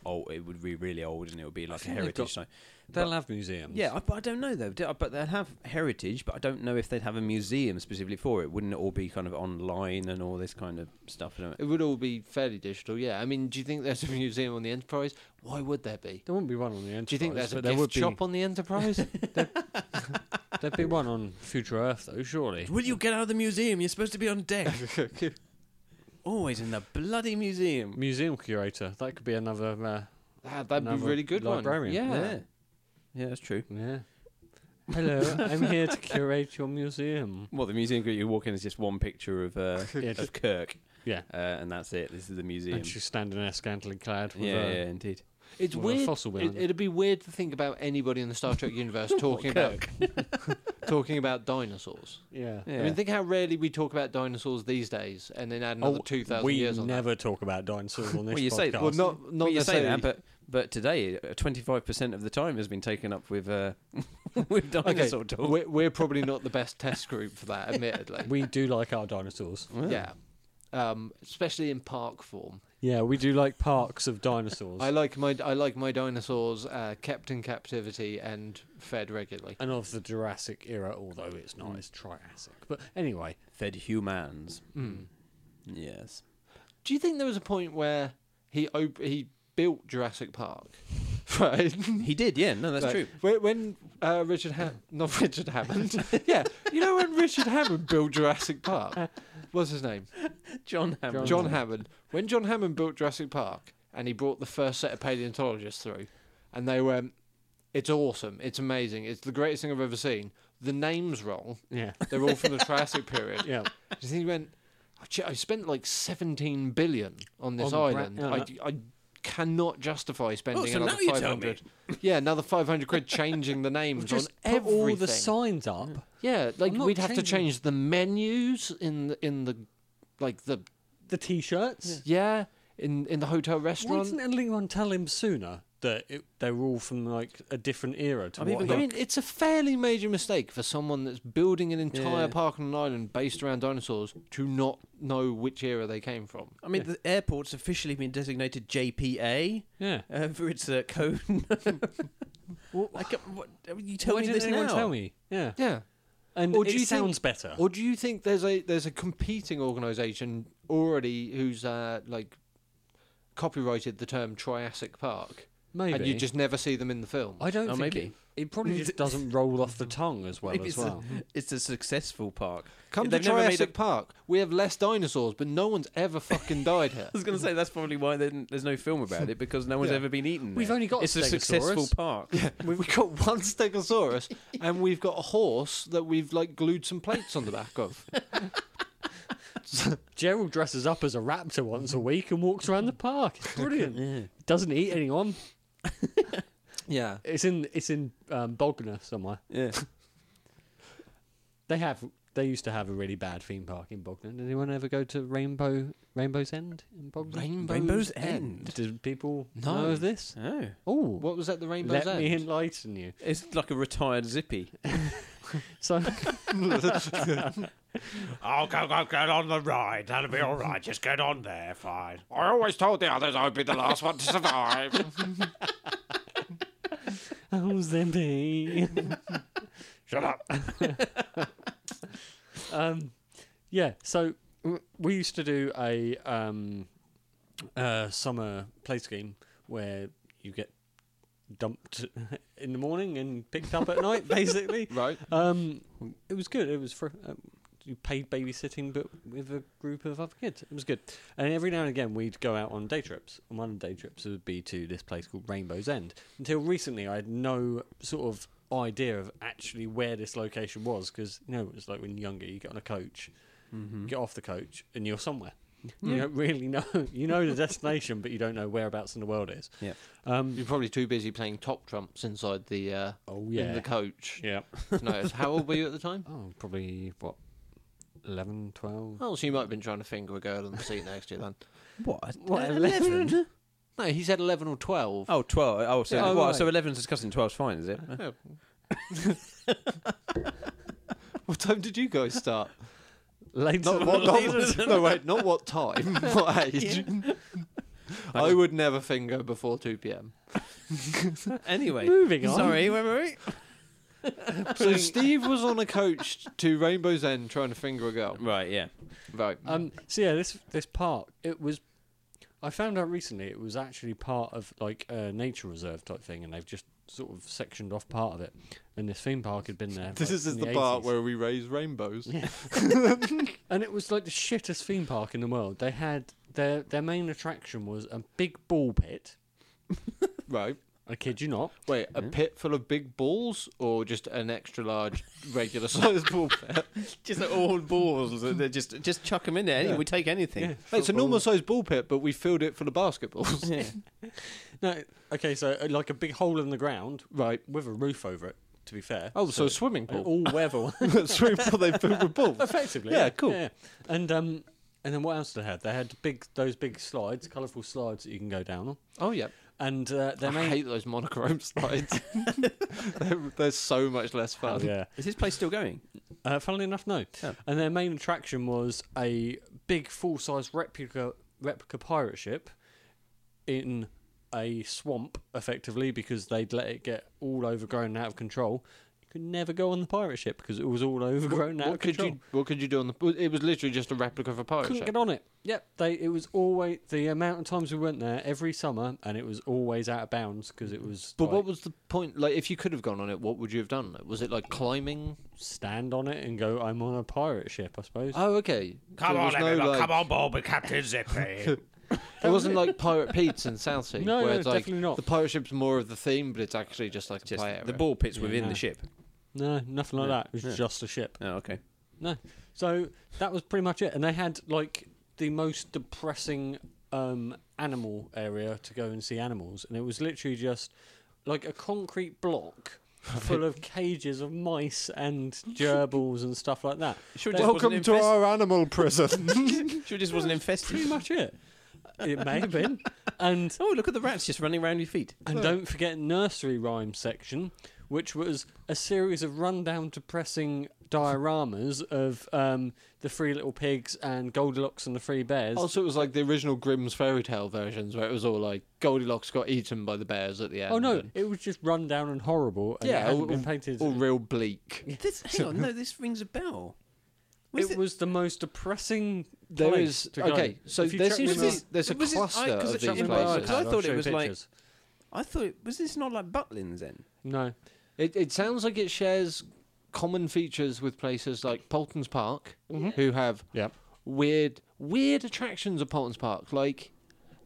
Speaker 3: old. It would be really old and it would be like a
Speaker 1: think they've
Speaker 3: heritage
Speaker 1: got-
Speaker 3: site.
Speaker 1: They'll have museums.
Speaker 3: Yeah, I, but I don't know though. Do- But they'd have heritage, but I don't know if they'd have a museum specifically for it. Wouldn't it all be kind of online and all this kind of stuff? I don't-
Speaker 2: it would all be fairly digital. Yeah. I mean, do you think there's a museum on the Enterprise? Why would there be?
Speaker 1: There wouldn't be one on the Enterprise.
Speaker 2: Do you think there's a
Speaker 1: but there would
Speaker 2: gift shop
Speaker 1: be,
Speaker 2: on the Enterprise?
Speaker 1: There'd be one on Future Earth, though, surely.
Speaker 3: Will you get out of the museum? You're supposed to be on deck. Always in the bloody museum.
Speaker 1: Museum curator. That could be another. Uh,
Speaker 2: Ah, that'd be a
Speaker 1: Another
Speaker 2: really good
Speaker 1: librarian.
Speaker 2: one. Yeah.
Speaker 3: Yeah. Yeah, that's true.
Speaker 1: yeah. Hello, I'm here to curate your museum.
Speaker 3: Well, the museum that you walk in is just one picture of uh,
Speaker 1: Yeah,
Speaker 3: of
Speaker 1: just-
Speaker 3: Kirk,
Speaker 1: Yeah.
Speaker 3: uh, and that's it. This is the museum.
Speaker 1: And she's standing there scantily clad with
Speaker 3: Yeah,
Speaker 1: a,
Speaker 3: yeah, indeed.
Speaker 2: It's
Speaker 1: Well, a
Speaker 2: weird.
Speaker 1: fossil whale,
Speaker 2: It,
Speaker 1: isn't it?
Speaker 2: it'd be weird to think about anybody in the Star Trek universe talking about talking about dinosaurs.
Speaker 1: yeah.
Speaker 3: Yeah.
Speaker 2: I mean, think how rarely we talk about dinosaurs these days, and then add another
Speaker 1: Oh,
Speaker 2: two thousand
Speaker 1: we
Speaker 2: years on that.
Speaker 1: never talk about dinosaurs on this
Speaker 3: Well, you say-
Speaker 1: podcast.
Speaker 3: well,
Speaker 2: Well, not not
Speaker 3: Well, you say
Speaker 2: necessarily.
Speaker 3: that, but but today, twenty five percent of the time has been taken up with uh, with
Speaker 2: okay,
Speaker 3: dinosaur talk.
Speaker 2: we're, we're probably not the best test group for that, admittedly.
Speaker 1: we do like our dinosaurs.
Speaker 2: yeah. um, especially in park form.
Speaker 1: Yeah, we do like parks of dinosaurs.
Speaker 2: I like my I like my dinosaurs uh, kept in captivity and fed regularly.
Speaker 1: and of the Jurassic era, although it's not, it's Triassic. But anyway,
Speaker 3: Fed humans.
Speaker 2: Mm.
Speaker 3: Yes.
Speaker 2: Do you think there was a point where he op- he built Jurassic Park? Right.
Speaker 3: He did, yeah. No, that's
Speaker 2: Like,
Speaker 3: true.
Speaker 2: When, when uh, Richard Ham- not Richard Hammond, yeah, you know when Richard Hammond built Jurassic Park, what's his name?
Speaker 3: John Hammond.
Speaker 2: John Hammond. When John Hammond built Jurassic Park, and he brought the first set of paleontologists through, and they went, "It's awesome! It's amazing! It's the greatest thing I've ever seen." The name's wrong.
Speaker 1: yeah,
Speaker 2: They're all from the Triassic period.
Speaker 1: yeah.
Speaker 2: And he went, "Oh, gee, I spent like 17 billion on this
Speaker 1: On the bra-
Speaker 2: island.
Speaker 1: yeah, Oh,
Speaker 2: I, I cannot justify spending
Speaker 3: so
Speaker 2: another
Speaker 3: now you tell
Speaker 2: 500. Yeah, another 500 quid changing the names
Speaker 1: Just
Speaker 2: on
Speaker 1: put
Speaker 2: everything.
Speaker 1: all the signs up.
Speaker 2: yeah, like
Speaker 1: I'm not
Speaker 2: we'd have to
Speaker 1: changing-
Speaker 2: change the menus in the, in the like the
Speaker 1: The T-shirts.
Speaker 2: yeah in in the hotel
Speaker 1: Why
Speaker 2: restaurant.
Speaker 1: didn't anyone tell him sooner that it, they were all from like a different era to
Speaker 3: I've
Speaker 1: what?
Speaker 3: even
Speaker 1: he-
Speaker 2: I mean, it's a fairly major mistake for someone that's building an entire
Speaker 3: Yeah.
Speaker 2: park on an island based around dinosaurs to not know which era they came from.
Speaker 3: I mean, the airport's officially been designated JPA
Speaker 1: yeah.
Speaker 3: uh, for its uh, code.
Speaker 1: Well,
Speaker 3: I can't- what, uh, you tell
Speaker 1: why
Speaker 3: me
Speaker 1: didn't
Speaker 3: this
Speaker 1: anyone
Speaker 3: now.
Speaker 1: tell me? Yeah.
Speaker 2: Yeah.
Speaker 1: And
Speaker 2: Or do
Speaker 1: it
Speaker 2: you think-
Speaker 1: sounds better.
Speaker 2: Or do you think there's a there's a competing organisation already who's uh, like copyrighted the term Triassic Park,
Speaker 1: maybe.
Speaker 2: and you just never see them in the film?
Speaker 1: I don't
Speaker 3: Oh,
Speaker 1: think
Speaker 3: maybe.
Speaker 1: It, it probably just doesn't roll off the tongue as well
Speaker 3: Maybe
Speaker 1: as
Speaker 3: it's,
Speaker 1: well.
Speaker 3: a, it's a successful park.
Speaker 2: Come
Speaker 3: They've
Speaker 2: to
Speaker 3: never made
Speaker 2: Triassic
Speaker 3: a-
Speaker 2: Park. We have less dinosaurs, but no one's ever fucking died here.
Speaker 3: I was going to say that's probably why there- there's no film about it because no one's
Speaker 2: Yeah.
Speaker 3: ever been eaten.
Speaker 1: We've
Speaker 3: there.
Speaker 1: only got
Speaker 3: it's a
Speaker 1: Stegosaurus.
Speaker 3: successful park.
Speaker 2: We've got one Stegosaurus, and we've got a horse that we've like glued some plates on the back of.
Speaker 1: Gerald dresses up as a raptor once a week and walks around the park. It's brilliant. Doesn't eat anyone.
Speaker 2: Yeah.
Speaker 1: It's in it's in um, Bognor somewhere.
Speaker 3: Yeah.
Speaker 1: They have they used to have a really bad theme park in Bognor. Did anyone ever go to Rainbow Rainbow's End in Bognor?
Speaker 2: Rainbow's,
Speaker 3: Rainbow's
Speaker 2: End.
Speaker 3: End.
Speaker 1: Did people
Speaker 2: No.
Speaker 1: know of this?
Speaker 3: Oh,
Speaker 1: Oh,
Speaker 2: What was that? The Rainbow's
Speaker 1: let me
Speaker 2: End.
Speaker 1: enlighten you.
Speaker 3: it's like a retired zippy.
Speaker 1: So
Speaker 5: I'll Oh, go, go, get on the ride. That'll be all right. Just get on there, fine. I always told the others I'd be the last one to survive.
Speaker 1: oh Zippy.
Speaker 5: Shut up.
Speaker 1: um, yeah, so w- we used to do a um, uh, summer play scheme where you get dumped in the morning and picked up at night, basically.
Speaker 2: Right.
Speaker 1: Um, it was good. It was for um, you paid babysitting, but with a group of other kids. It was good. And every now and again, we'd go out on day trips. And one of the day trips would be to this place called Rainbow's End. Until recently, I had no sort of idea of actually where this location was because you know it was like when you're younger, you get on a coach, get off the coach, and you're somewhere. You don't really know. You know the destination, but you don't know whereabouts in the world it is.
Speaker 3: Yeah.
Speaker 1: Um,
Speaker 2: You're probably too busy playing top trumps inside the uh,
Speaker 1: oh
Speaker 2: in
Speaker 1: yeah.
Speaker 2: the coach.
Speaker 1: Yeah.
Speaker 2: No, how old were you at the time?
Speaker 1: Oh, probably what, 11, 12?
Speaker 2: Oh, so you might have been trying to finger a girl in the seat next to you then.
Speaker 3: What?
Speaker 1: What, 11?
Speaker 2: No, he said 11 or 12.
Speaker 3: Oh, 12. Oh, so,
Speaker 1: Yeah. Oh,
Speaker 3: what,
Speaker 1: right.
Speaker 3: so 11's discussing 12's fine, is it?
Speaker 2: What time did you guys start?
Speaker 1: Later.
Speaker 2: Not what, not, no, wait, not what time, what age. I would never finger before 2 p.m.
Speaker 3: Anyway.
Speaker 1: Moving on.
Speaker 3: Sorry, where were we?
Speaker 2: So Steve was on a coach to Rainbow's End trying to finger a girl.
Speaker 3: Right, yeah.
Speaker 2: Right.
Speaker 1: Um, so yeah, this this park it was. I found out recently it was actually part of like a nature reserve type thing, and they've just sort of sectioned off part of it. And this theme park had been there.
Speaker 2: this
Speaker 1: like,
Speaker 2: is
Speaker 1: in
Speaker 2: the,
Speaker 1: the
Speaker 2: part
Speaker 1: 80s.
Speaker 2: where we raise rainbows.
Speaker 1: Yeah. and it was like the shittest theme park in the world. They had their their main attraction was a big ball pit.
Speaker 2: Right.
Speaker 1: I kid you not.
Speaker 2: Wait, a pit full of big balls or just an extra large, regular sized ball pit?
Speaker 3: Just like all balls. They're just just chuck them in there. We take anything.
Speaker 2: Hey, it's a normal sized ball pit, but we filled it full of basketballs.
Speaker 1: No, okay, so uh, like a big hole in the ground
Speaker 2: right.
Speaker 1: with a roof over it. To be fair,
Speaker 2: Oh, so, a swimming pool.
Speaker 1: an all weather.
Speaker 2: swimming pool they filled with balls.
Speaker 1: effectively.
Speaker 2: Yeah, cool.
Speaker 1: And um, And then what else did they have? They had big those big slides, colourful slides that you can go down on.
Speaker 2: Oh yeah,
Speaker 1: And uh, their
Speaker 2: I
Speaker 1: main
Speaker 2: hate those monochrome slides. they're, they're so much less
Speaker 1: Oh,
Speaker 2: fun.
Speaker 1: yeah.
Speaker 3: Is this place still going?
Speaker 1: Uh, funnily enough, no.
Speaker 3: Oh.
Speaker 1: And their main attraction was a big full-size replica replica pirate ship in a swamp, effectively, because they'd let it get all overgrown and out of control. You could never go on the pirate ship because it was all overgrown and out
Speaker 2: What
Speaker 1: of
Speaker 2: could
Speaker 1: control.
Speaker 2: you? What could you do on the? It was literally just a replica of a pirate
Speaker 1: couldn't
Speaker 2: ship.
Speaker 1: get on it. Yep, they. It was always the amount of times we went there every summer, and it was always out of bounds because it was.
Speaker 2: But
Speaker 1: like,
Speaker 2: what was the point? Like, if you could have gone on it, what would you have done? Was it like climbing?
Speaker 1: stand on it and go? I'm on a pirate ship, I suppose.
Speaker 3: Ah.
Speaker 2: Oh, okay.
Speaker 5: Come
Speaker 2: There
Speaker 5: on,
Speaker 2: was no,
Speaker 5: everyone,
Speaker 2: like-
Speaker 5: come on board with Captain Zippy.
Speaker 2: It wasn't like Pirate Pete's in Southsea.
Speaker 1: No,
Speaker 2: where
Speaker 1: no,
Speaker 2: it's like
Speaker 1: definitely not.
Speaker 2: The pirate ship's more of the theme, but it's actually just like a
Speaker 3: Just
Speaker 2: play area.
Speaker 3: the ball pits within
Speaker 1: no.
Speaker 3: the ship.
Speaker 1: no, nothing like
Speaker 3: Yeah,
Speaker 1: that. It was
Speaker 3: yeah.
Speaker 1: just a ship.
Speaker 3: Oh, okay.
Speaker 1: No. So that was pretty much it. And they had like the most depressing um, animal area to go and see animals. And it was literally just like a concrete block full of cages of mice and gerbils and stuff like that.
Speaker 3: Sure, it just
Speaker 4: Welcome
Speaker 3: wasn't
Speaker 4: to
Speaker 3: infest-
Speaker 4: our animal prison.
Speaker 3: Sure, it just wasn't infested.
Speaker 1: Pretty much it. It may have been. And
Speaker 3: Oh, look at the rats just running around your feet.
Speaker 1: and don't forget nursery rhyme section, which was a series of rundown, depressing dioramas of um, the Three Little Pigs and Goldilocks and the Three Bears.
Speaker 2: Also, it was like the original Grimm's fairy tale versions, where it was all like Goldilocks got eaten by the bears at the end.
Speaker 1: Oh no,
Speaker 2: and-
Speaker 1: it was just run down and horrible. And
Speaker 2: Yeah, oh,
Speaker 1: yeah, it hadn't
Speaker 2: all-
Speaker 1: been painted.
Speaker 2: all real bleak.
Speaker 3: This, hang on, no, this rings a bell. Was
Speaker 1: it, was the most depressing.
Speaker 2: There
Speaker 1: place
Speaker 2: is-
Speaker 1: to go.
Speaker 2: okay, so
Speaker 1: If you
Speaker 2: there
Speaker 1: check
Speaker 2: seems to
Speaker 1: them
Speaker 2: be-
Speaker 1: out-
Speaker 2: there's a
Speaker 3: Was it- I-
Speaker 2: cluster
Speaker 3: 'cause
Speaker 2: of
Speaker 3: it's
Speaker 2: these
Speaker 3: in
Speaker 1: Brighton,
Speaker 2: places.
Speaker 1: I'll
Speaker 3: I thought it
Speaker 1: show
Speaker 3: was like-
Speaker 1: pictures.
Speaker 3: I thought was this not like Butlins then?
Speaker 1: no.
Speaker 2: It, it sounds like it shares common features with places like Polton's Park,
Speaker 3: Mm-hmm.
Speaker 2: who have
Speaker 1: Yep.
Speaker 2: weird, weird attractions at Polton's Park. Like,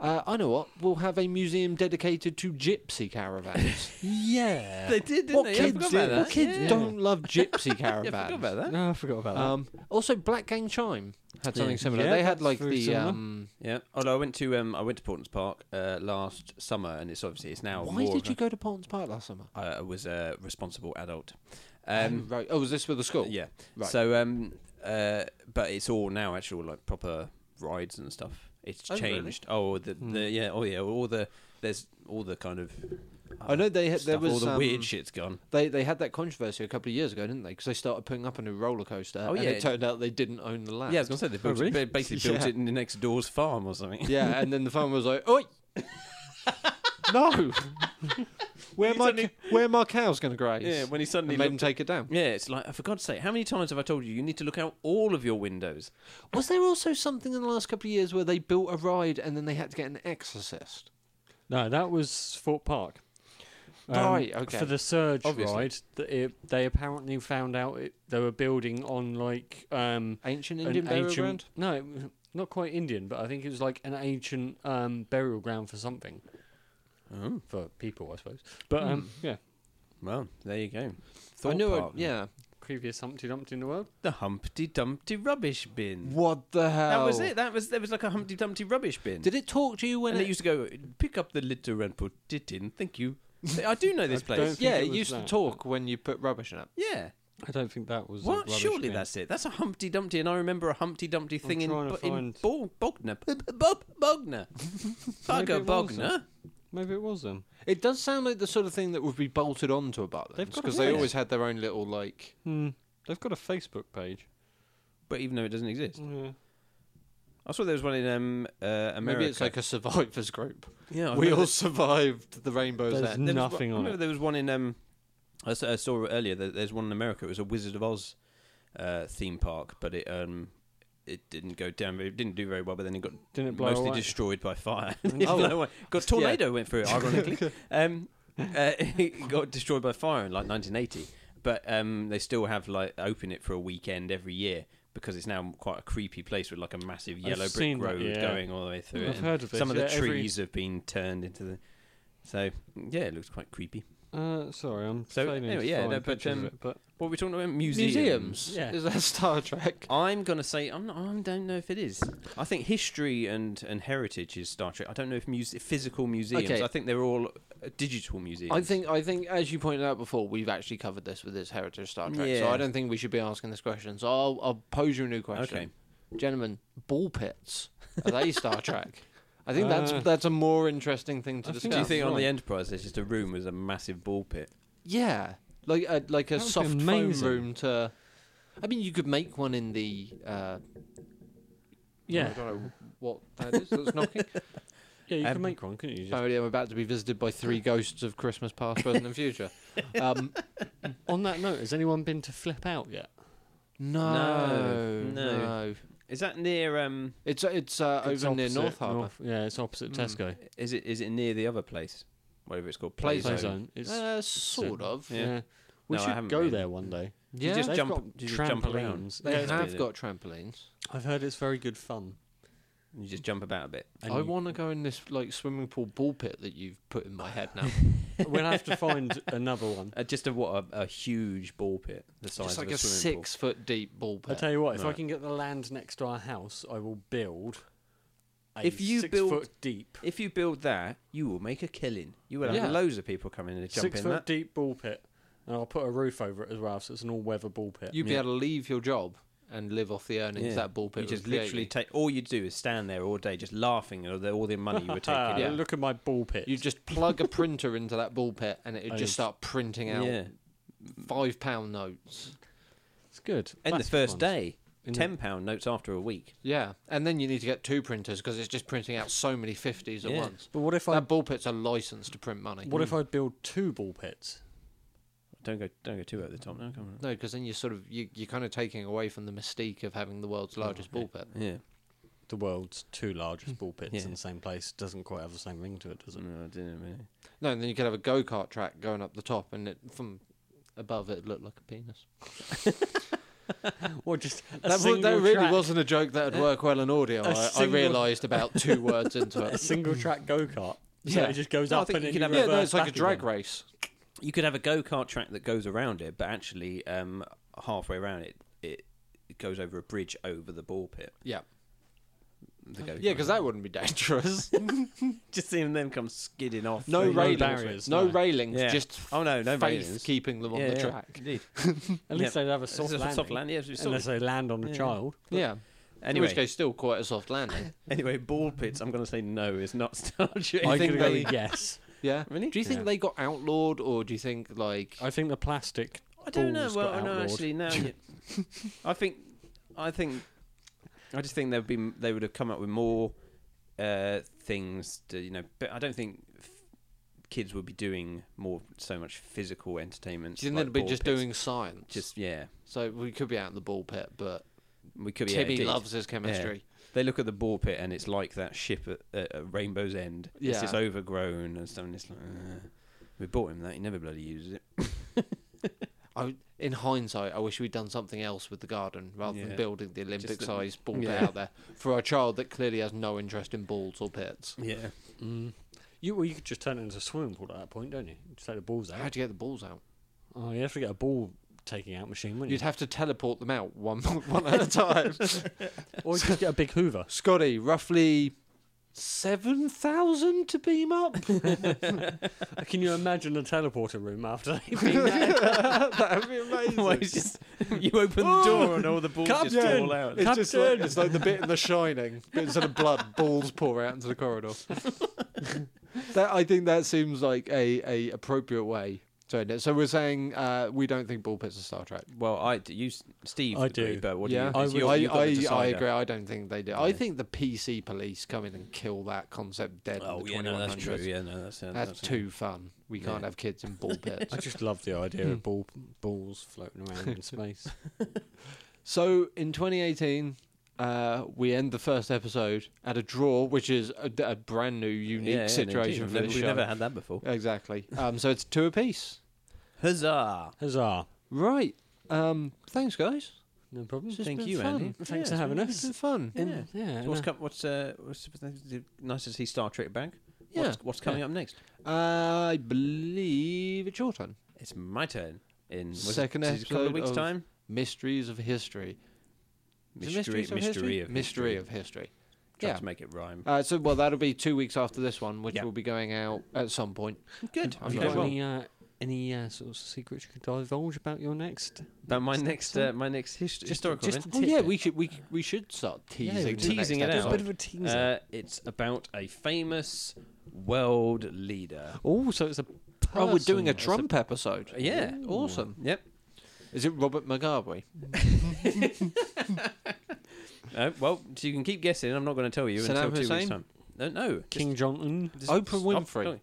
Speaker 2: uh, I know what, we'll have a museum dedicated to gypsy caravans.
Speaker 1: Yeah.
Speaker 3: They did, didn't
Speaker 2: what
Speaker 3: they?
Speaker 2: kids,
Speaker 3: I forgot
Speaker 2: do-
Speaker 3: about that.
Speaker 2: what kids
Speaker 3: yeah.
Speaker 2: don't love gypsy
Speaker 3: Yeah,
Speaker 2: caravans?
Speaker 3: I forgot about that.
Speaker 1: no, I forgot about that.
Speaker 2: Um, also, Black Gang Chime had something
Speaker 1: Yeah.
Speaker 2: similar.
Speaker 1: Yeah,
Speaker 2: they had
Speaker 1: that's
Speaker 2: like
Speaker 1: very
Speaker 2: the
Speaker 1: similar.
Speaker 2: um,
Speaker 3: Yeah. Although I went to um, I went to Portland's Park uh, last summer, and it's obviously it's now.
Speaker 2: Why
Speaker 3: more
Speaker 2: did
Speaker 3: of
Speaker 2: you go to Polton's Park last summer?
Speaker 3: A, I was a responsible adult. Um,
Speaker 2: right. Oh, was this with the school?
Speaker 3: Yeah.
Speaker 2: Right.
Speaker 3: So, um, uh, but it's all now actual like proper rides and stuff. It's
Speaker 2: Oh, really? Hmm.
Speaker 3: changed. Oh, the, the yeah. Oh yeah. All the there's all the kind of. uh,
Speaker 2: I know they had- there
Speaker 3: stuff, all
Speaker 2: was,
Speaker 3: the weird
Speaker 2: um,
Speaker 3: shit's gone.
Speaker 2: They they had that controversy a couple of years ago, didn't they? Because they started putting up a new roller coaster,
Speaker 3: Oh,
Speaker 2: and
Speaker 3: yeah.
Speaker 2: it turned out they didn't own the land.
Speaker 3: Yeah, I was gonna say they built
Speaker 1: really?
Speaker 3: it, ba- basically built
Speaker 2: Ah. Oh, Yeah.
Speaker 3: it in the next door's farm or something.
Speaker 2: Yeah, and then the farmer was like, "Oi, no, where my where my cow's going to graze?"
Speaker 3: Yeah, when he suddenly
Speaker 2: and made him
Speaker 3: looked-
Speaker 2: take it down.
Speaker 3: yeah, it's like for God's sake, how many times have I told you you need to look out all of your windows?
Speaker 2: Was there also something in the last couple of years where they built a ride and then they had to get an exorcist?
Speaker 1: no, that was Fort Park. Um,
Speaker 2: Right, okay.
Speaker 1: For the surge
Speaker 3: Obviously.
Speaker 1: ride, th- it, they apparently found out it, they were building on like um,
Speaker 2: Ancient
Speaker 1: an
Speaker 2: Indian burial
Speaker 1: ancient-
Speaker 2: ground.
Speaker 1: No, it was not quite Indian, but I think it was like an ancient um, burial ground for something.
Speaker 3: Oh.
Speaker 1: For people, I suppose. But um,
Speaker 3: Hmm.
Speaker 1: yeah,
Speaker 3: Well, there you go.
Speaker 2: I knew. it.
Speaker 3: Park.
Speaker 2: yeah.
Speaker 1: previous Humpty Dumpty in the world.
Speaker 3: the Humpty Dumpty rubbish bin.
Speaker 2: What the hell?
Speaker 3: That was it. That was there was like a Humpty Dumpty rubbish bin.
Speaker 2: Did it talk to you when
Speaker 3: and
Speaker 2: it
Speaker 3: they used to go pick up the litter and put it in. Thank you. I do know this
Speaker 1: I
Speaker 3: place.
Speaker 1: don't-
Speaker 2: Yeah,
Speaker 1: think it
Speaker 2: it
Speaker 1: was
Speaker 2: used to
Speaker 1: that.
Speaker 2: talk when you put rubbish in it.
Speaker 3: Yeah.
Speaker 1: I don't think that was a
Speaker 3: What?
Speaker 1: rubbish
Speaker 3: Surely
Speaker 1: bin.
Speaker 3: that's it. That's a Humpty Dumpty, and I remember a Humpty Dumpty thing in,
Speaker 1: trying to
Speaker 3: Bo- in
Speaker 1: find-
Speaker 3: Bo- Bognor. B- B- Bob Bognor.
Speaker 1: Maybe
Speaker 3: Bugger
Speaker 1: it was
Speaker 3: Bognor.
Speaker 1: Maybe it was them.
Speaker 2: It does sound like the sort of thing that would be bolted onto a button
Speaker 1: They've got a
Speaker 2: because they
Speaker 1: voice.
Speaker 2: always had their own little like.
Speaker 1: Hmm. They've got a Facebook page.
Speaker 3: But even though it doesn't exist,
Speaker 1: Yeah.
Speaker 3: I saw there was one in um, uh, America.
Speaker 2: Maybe it's like a survivors group.
Speaker 3: yeah, I
Speaker 2: we
Speaker 3: remember
Speaker 2: all survived the rainbow's
Speaker 1: There's
Speaker 2: end.
Speaker 3: there was one-
Speaker 1: nothing
Speaker 3: I
Speaker 1: on
Speaker 3: remember
Speaker 1: it.
Speaker 3: there was one in um, I s- I saw earlier. That there's one in America. It was a Wizard of Oz uh, theme park, but it um, it didn't go down. very- It didn't do very well. But then it got
Speaker 1: Didn't it blow
Speaker 3: mostly
Speaker 1: away? Oh.
Speaker 3: destroyed by fire. It blew away. got tornado went through it. Ironically, um, uh, it got destroyed by fire in like 1980. But um, they still have like open it for a weekend every year. Because it's now quite a creepy place with like a massive yellow brick
Speaker 1: seen that,
Speaker 3: road
Speaker 1: yeah.
Speaker 3: going all the way through it.
Speaker 1: I've
Speaker 3: and
Speaker 1: heard of this,
Speaker 3: Some of the
Speaker 1: yeah, every-
Speaker 3: trees have been turned into the. So yeah, it looks quite creepy.
Speaker 1: Uh, sorry, I'm
Speaker 3: So,
Speaker 1: failing
Speaker 3: anyway,
Speaker 1: to
Speaker 3: yeah,
Speaker 1: find
Speaker 3: no, but,
Speaker 1: pictures of
Speaker 3: um,
Speaker 1: it, but
Speaker 3: What are we talking about? Museums.
Speaker 2: Museums.
Speaker 1: Yeah.
Speaker 2: Is that Star Trek?
Speaker 3: I'm gonna say I'm not. I don't know if it is. I think history and, and heritage is Star Trek. I don't know if muse- physical museums.
Speaker 2: Okay.
Speaker 3: I think they're all uh, digital museums.
Speaker 2: I think I think as you pointed out before, we've actually covered this with this heritage Star Trek. So
Speaker 3: Yeah.
Speaker 2: I don't think we should be asking this question. So I'll I'll pose you a new question.
Speaker 3: Okay.
Speaker 2: gentlemen, ball pits are they Star Trek? I think that's that's a more interesting thing to
Speaker 4: I think
Speaker 2: discuss.
Speaker 3: Do you think on
Speaker 4: right.
Speaker 3: the Enterprise there's just a room with a massive ball pit?
Speaker 2: Yeah, like a, like a
Speaker 1: That would be
Speaker 2: soft foam
Speaker 1: amazing.
Speaker 2: room to. I mean, you could make one in the. Uh,
Speaker 1: Yeah.
Speaker 3: um,
Speaker 2: I don't know what that is that's knocking.
Speaker 1: Yeah, you
Speaker 2: Um,
Speaker 1: can make one, couldn't you? Just,
Speaker 2: Apparently, I'm about to be visited by three ghosts of Christmas past, present, and future. Um,
Speaker 1: on that note, has anyone been to Flip Out yet?
Speaker 2: no,
Speaker 3: No,
Speaker 2: no,
Speaker 3: no. Is that near? Um,
Speaker 2: It's it's, uh,
Speaker 1: It's
Speaker 2: over near
Speaker 1: opposite
Speaker 2: North Harbour.
Speaker 1: North- yeah, it's opposite Tesco.
Speaker 3: is it? Is it near the other place? Whatever it's called,
Speaker 2: Play
Speaker 3: Play,
Speaker 1: Play
Speaker 3: Zone.
Speaker 1: Zone. It's,
Speaker 2: Uh, sort of.
Speaker 1: yeah. We
Speaker 3: No, I
Speaker 1: should
Speaker 3: haven't
Speaker 1: go
Speaker 3: been.
Speaker 1: there one day.
Speaker 2: Yeah,
Speaker 3: You just
Speaker 1: They've
Speaker 3: jump.
Speaker 1: got
Speaker 3: you just jump around.
Speaker 1: trampolines.
Speaker 2: they
Speaker 3: Yeah, it's
Speaker 2: have
Speaker 3: been-
Speaker 2: got trampolines.
Speaker 1: I've heard it's very good fun.
Speaker 3: You just jump about a bit.
Speaker 1: And
Speaker 2: I
Speaker 1: you-
Speaker 2: want to go in this like swimming pool ball pit that you've put in my head now.
Speaker 1: we'll have to find another one.
Speaker 3: Uh, just a what a, a huge ball pit the size
Speaker 2: it's
Speaker 3: of
Speaker 2: like a,
Speaker 3: swimming
Speaker 2: six foot deep ball
Speaker 1: I
Speaker 2: pit.
Speaker 1: tell you what, if I
Speaker 3: Right.
Speaker 1: can get the land next to our house, I will build. A
Speaker 3: If you
Speaker 1: six
Speaker 3: build-
Speaker 1: foot deep,
Speaker 3: Pool. If you build that, you will make a killing. You will have
Speaker 2: Yeah.
Speaker 3: loads of people coming in and jump
Speaker 1: six
Speaker 3: in
Speaker 1: foot
Speaker 3: that.
Speaker 1: deep ball pit, and I'll put a roof over it as well, so it's an all weather ball pit.
Speaker 2: You'd be
Speaker 3: Yeah.
Speaker 2: able to leave your job and live off the earnings
Speaker 3: Yeah.
Speaker 2: that ball pit.
Speaker 3: You just
Speaker 2: was creating.
Speaker 3: literally take all you do is stand there all day just laughing at all the, all the money you were taking.
Speaker 1: Ah,
Speaker 2: yeah.
Speaker 1: Look at my ball pit.
Speaker 2: You just plug a printer into that ball pit, and it'd
Speaker 1: I
Speaker 2: just
Speaker 1: just-
Speaker 2: start printing out
Speaker 3: yeah.
Speaker 2: five pound notes.
Speaker 1: it's good.
Speaker 3: And the
Speaker 1: Plastic
Speaker 3: first
Speaker 1: ones.
Speaker 3: day,
Speaker 1: In the-
Speaker 3: ten pound notes after a week.
Speaker 2: Yeah, and then you need to get two printers because it's just printing out so many fifties at
Speaker 3: Yeah.
Speaker 2: once.
Speaker 1: But what if I
Speaker 2: That ball pit's a license to print money.
Speaker 1: what if I build two ball pits?
Speaker 3: Don't go, don't go too over the top. No, come
Speaker 2: No, because then you're sort of you, you're kind of taking away from the mystique of having the world's largest ball pit.
Speaker 3: on. Yeah.
Speaker 1: The world's two largest ball pits
Speaker 3: Yeah.
Speaker 1: in the same place doesn't quite have the same ring to it, does it?
Speaker 3: No, I didn't really.
Speaker 2: No, and then you could have a go kart track going up the top, and it from above it looked like a penis.
Speaker 1: Or just a
Speaker 2: That, wa-
Speaker 1: single
Speaker 2: that really
Speaker 1: track,
Speaker 2: wasn't a joke that would work well on audio.
Speaker 1: A
Speaker 2: I, I
Speaker 1: single-
Speaker 2: realised about two words into
Speaker 1: a
Speaker 2: it.
Speaker 1: single track go kart. So
Speaker 2: Yeah.
Speaker 1: it just goes
Speaker 3: No, I
Speaker 1: up
Speaker 3: think
Speaker 1: and
Speaker 3: you
Speaker 1: then
Speaker 3: could
Speaker 1: you
Speaker 3: have a-
Speaker 2: Yeah, no,
Speaker 1: reverse
Speaker 2: it's like a
Speaker 1: back
Speaker 2: drag
Speaker 1: again.
Speaker 2: race.
Speaker 3: You could have a go kart track that goes around it, but actually, um, halfway around it, it, it goes over a bridge over the ball pit.
Speaker 2: Yeah,
Speaker 3: The go-kart.
Speaker 2: yeah, because that wouldn't be dangerous.
Speaker 3: just seeing them come skidding off.
Speaker 2: No
Speaker 1: no
Speaker 2: railings,
Speaker 1: barriers,
Speaker 2: no,
Speaker 1: no.
Speaker 2: railings,
Speaker 3: Yeah.
Speaker 2: just
Speaker 3: Oh no, no
Speaker 2: faith
Speaker 3: railings.
Speaker 2: keeping them on
Speaker 3: Yeah,
Speaker 2: the
Speaker 3: yeah,
Speaker 2: track.
Speaker 3: Indeed.
Speaker 1: At least
Speaker 3: Yeah.
Speaker 1: they'd have a
Speaker 3: It's
Speaker 1: soft
Speaker 3: a
Speaker 1: landing.
Speaker 3: soft landing. Yes, it's
Speaker 1: Unless
Speaker 3: soft.
Speaker 1: they land on a
Speaker 3: Yeah.
Speaker 1: child.
Speaker 2: Yeah. In
Speaker 3: Anyway,
Speaker 2: which case, still quite a soft landing.
Speaker 3: anyway, ball pits. I'm going to say no. It's not Star Trek.
Speaker 2: I
Speaker 1: I
Speaker 2: think
Speaker 1: could go
Speaker 2: they-
Speaker 1: with yes.
Speaker 2: Yeah.
Speaker 3: Really?
Speaker 2: Do you think
Speaker 1: Yeah.
Speaker 2: they got outlawed, or do you think like
Speaker 1: I think the plastic.
Speaker 3: I don't know.
Speaker 1: balls got
Speaker 3: Well, no,
Speaker 1: outlawed.
Speaker 3: actually, no. you- I think, I think, I just think they'd be they would have come up with more uh, things to you know. But I don't think f- kids would be doing more so much physical entertainment.
Speaker 2: do you think
Speaker 3: like
Speaker 2: they'd be
Speaker 3: ball
Speaker 2: just
Speaker 3: pits.
Speaker 2: doing science?
Speaker 3: just yeah?
Speaker 2: so we could be out in the ball pit, but
Speaker 3: We could be. yeah,
Speaker 2: Timmy
Speaker 3: indeed.
Speaker 2: loves his chemistry.
Speaker 3: They look at the ball pit and it's like that ship at, at, at Rainbow's End. It's
Speaker 2: Yeah.
Speaker 3: just overgrown and stuff. And it's like, uh, we bought him that. He never bloody uses it.
Speaker 2: I, in hindsight, I wish we'd done something else with the garden rather
Speaker 3: Yeah.
Speaker 2: than building the Olympic-sized ball pit
Speaker 3: Yeah.
Speaker 2: out there for a child that clearly has no interest in balls or pits.
Speaker 3: Yeah.
Speaker 1: Mm. You well, you could just turn it into a swimming pool at that point, don't you? Just take the balls
Speaker 2: How'd
Speaker 1: out.
Speaker 2: you get the balls out?
Speaker 1: Oh, you have to get a ball taking out machine, wouldn't you?
Speaker 2: You'd have to teleport them out one one at a time.
Speaker 1: or you just get a big Hoover.
Speaker 2: Scotty, roughly seven thousand to beam up.
Speaker 1: Can you imagine a teleporter room after they've been there?
Speaker 2: That'd be amazing.
Speaker 3: Well, it's just, you open the door and all the balls just
Speaker 1: Captain!
Speaker 3: fall out.
Speaker 2: It's just like,
Speaker 1: Captain!
Speaker 2: it's like the bit in The Shining, but instead of blood, balls pour out into the corridor. that I think that seems like a, a appropriate way to end it. So we're saying uh, we don't think ball pits are Star Trek.
Speaker 3: Well, I do. You, s- Steve,
Speaker 1: I
Speaker 3: agree,
Speaker 1: do.
Speaker 3: But what
Speaker 2: yeah,
Speaker 3: do you? it's your-
Speaker 2: I,
Speaker 3: you've got the
Speaker 2: I, I
Speaker 3: decider.
Speaker 2: agree. I don't think they do. I
Speaker 3: Yeah.
Speaker 2: think the PC police come in and kill that concept dead.
Speaker 3: Oh
Speaker 2: in the
Speaker 3: yeah, no, that's true.
Speaker 2: 2100s.
Speaker 3: Yeah, no, that's yeah,
Speaker 2: That's too fun. We can't
Speaker 3: Yeah.
Speaker 2: have kids in ball pits.
Speaker 1: I just love the idea
Speaker 2: Hmm.
Speaker 1: of ball balls floating around in space.
Speaker 2: So in 2018, uh, we end the first episode at a draw, which is a, a brand new, unique
Speaker 3: Yeah, yeah,
Speaker 2: situation
Speaker 3: indeed.
Speaker 2: for
Speaker 3: Never-
Speaker 2: this
Speaker 3: We've
Speaker 2: show.
Speaker 3: never had that before.
Speaker 2: Exactly. Um, so it's two apiece.
Speaker 3: Huzzah!
Speaker 1: Huzzah!
Speaker 2: Right. Um, thanks, guys.
Speaker 1: No problem.
Speaker 2: It's just
Speaker 3: Thank
Speaker 2: been
Speaker 3: you,
Speaker 2: fun.
Speaker 3: Andy.
Speaker 1: Thanks for having
Speaker 2: It's
Speaker 1: us.
Speaker 2: been fun.
Speaker 3: Yeah.
Speaker 1: And, yeah.
Speaker 3: What's
Speaker 1: no.
Speaker 3: com- what's uh what's, what's nice to see Star Trek back?
Speaker 2: Yeah. Uh,
Speaker 3: What's, what's coming up next?
Speaker 2: I believe it's your turn.
Speaker 3: It's my turn. In was
Speaker 2: Second
Speaker 3: it, is it a couple
Speaker 2: episode
Speaker 3: of weeks
Speaker 2: of-
Speaker 3: time.
Speaker 2: Mysteries of history. Is it
Speaker 3: Mystery,
Speaker 2: mysteries of history?
Speaker 3: of
Speaker 2: mystery
Speaker 3: history.
Speaker 2: of history.
Speaker 3: Trying
Speaker 2: yeah.
Speaker 3: to make it rhyme.
Speaker 2: Uh, so well, that'll be two weeks after this one, which
Speaker 3: Yeah.
Speaker 2: will be going out at some point.
Speaker 3: Good.
Speaker 2: I've
Speaker 1: Have you
Speaker 2: got
Speaker 1: got
Speaker 2: one.
Speaker 1: any uh, any uh, sort of secrets you could divulge about your next?
Speaker 3: But my next, uh, my next hist- historical
Speaker 1: just
Speaker 3: event.
Speaker 2: Oh yeah, we should we we should start teasing
Speaker 1: we're
Speaker 2: the next
Speaker 3: teasing it out.
Speaker 1: Just a
Speaker 2: episode.
Speaker 1: bit of a teaser.
Speaker 2: oh,
Speaker 3: Uh, it's about a famous world leader.
Speaker 1: oh, so it's a.
Speaker 2: Oh, we're doing a
Speaker 1: person.
Speaker 2: Trump episode.
Speaker 3: Yeah.
Speaker 2: awesome.
Speaker 3: Yep.
Speaker 2: Is it Robert Mugabe?
Speaker 3: Uh, well, so you can keep guessing. I'm not going to tell you
Speaker 2: Saddam
Speaker 3: until two weeks
Speaker 2: Hussein?
Speaker 3: time. No, no.
Speaker 1: King Jong Un,
Speaker 3: Just-
Speaker 2: Oprah
Speaker 3: stop
Speaker 2: Winfrey.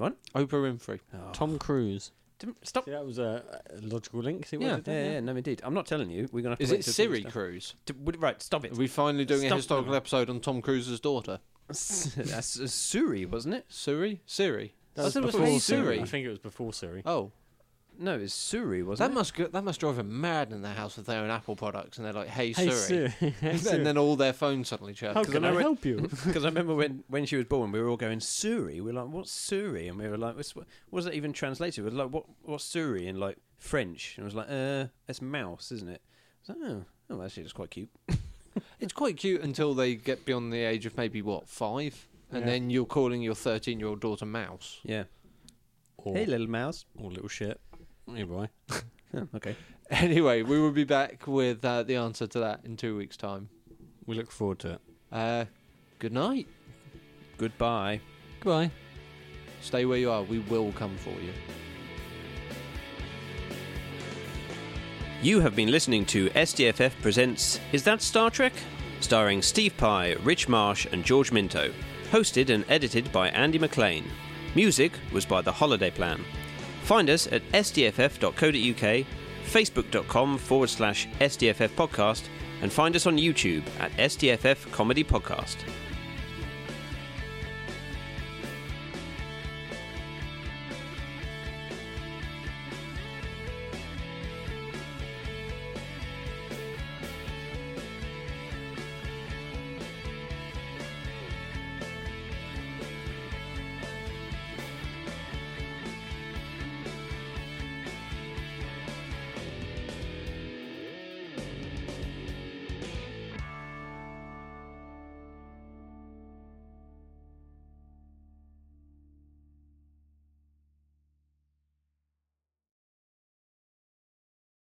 Speaker 3: telling-
Speaker 2: Oprah Winfrey.
Speaker 1: Tom Cruise.
Speaker 3: Dim- Stop.
Speaker 1: Oh. See, that was a, a logical link. See what I
Speaker 3: Yeah,
Speaker 1: did there?
Speaker 3: yeah, yeah, no, indeed. I'm not telling you. We're gonna. Have to
Speaker 2: Is
Speaker 3: wait
Speaker 2: it
Speaker 3: till two
Speaker 2: Siri
Speaker 3: weeks'
Speaker 2: Cruz?
Speaker 3: time. D- w- Right, stop it.
Speaker 2: Are we finally doing
Speaker 3: Stop
Speaker 2: a historical
Speaker 3: now.
Speaker 2: episode on Tom Cruise's daughter?
Speaker 3: That's uh, Suri, wasn't it?
Speaker 2: Siri? Siri?
Speaker 1: That
Speaker 2: I
Speaker 1: was
Speaker 2: thought it was
Speaker 1: before
Speaker 2: Hey
Speaker 1: Siri.
Speaker 2: Siri.
Speaker 1: I think it was before Siri.
Speaker 2: Oh,
Speaker 3: No, it's Suri, wasn't it?
Speaker 2: that must go, that must drive them mad in their house with their own Apple products, and they're like, "Hey,
Speaker 1: hey
Speaker 2: Siri,",
Speaker 1: Siri. Hey, Siri.
Speaker 2: and then uh, all their phones suddenly chirp.
Speaker 1: How
Speaker 3: 'cause I
Speaker 1: can
Speaker 3: know
Speaker 1: I
Speaker 3: it-
Speaker 1: help you?
Speaker 3: Because I remember when, when she was born, we were all going Suri. We were like, "What's Suri?" And we were like, "What's- "What was that even translated?" We were like, "What what's Suri?" in like French, and I was like, "Uh, it's mouse, isn't it?" I was like, oh, oh, actually, it's quite cute.
Speaker 2: It's quite cute until they get beyond the age of maybe what five, and
Speaker 1: Yeah.
Speaker 2: then you're calling your thirteen-year-old daughter mouse.
Speaker 3: Yeah.
Speaker 1: Or,
Speaker 3: Hey, little mouse.
Speaker 1: or little shit. Hey, boy.
Speaker 3: Oh, okay.
Speaker 2: Anyway, we will be back with uh, the answer to that in two weeks' time.
Speaker 1: We look forward to it.
Speaker 2: Uh, good night.
Speaker 3: Goodbye.
Speaker 1: Goodbye.
Speaker 2: Stay where you are. We will come for you.
Speaker 3: You have been listening to SDFF Presents Is That Star Trek? starring Steve Pye, Rich Marsh, and George Minto. Hosted and edited by Andy McLean. Music was by The Holiday Plan. Find us at sdff.co.uk, facebook.com forward slash SDFF podcast, and find us on YouTube at SDFF Comedy Podcast.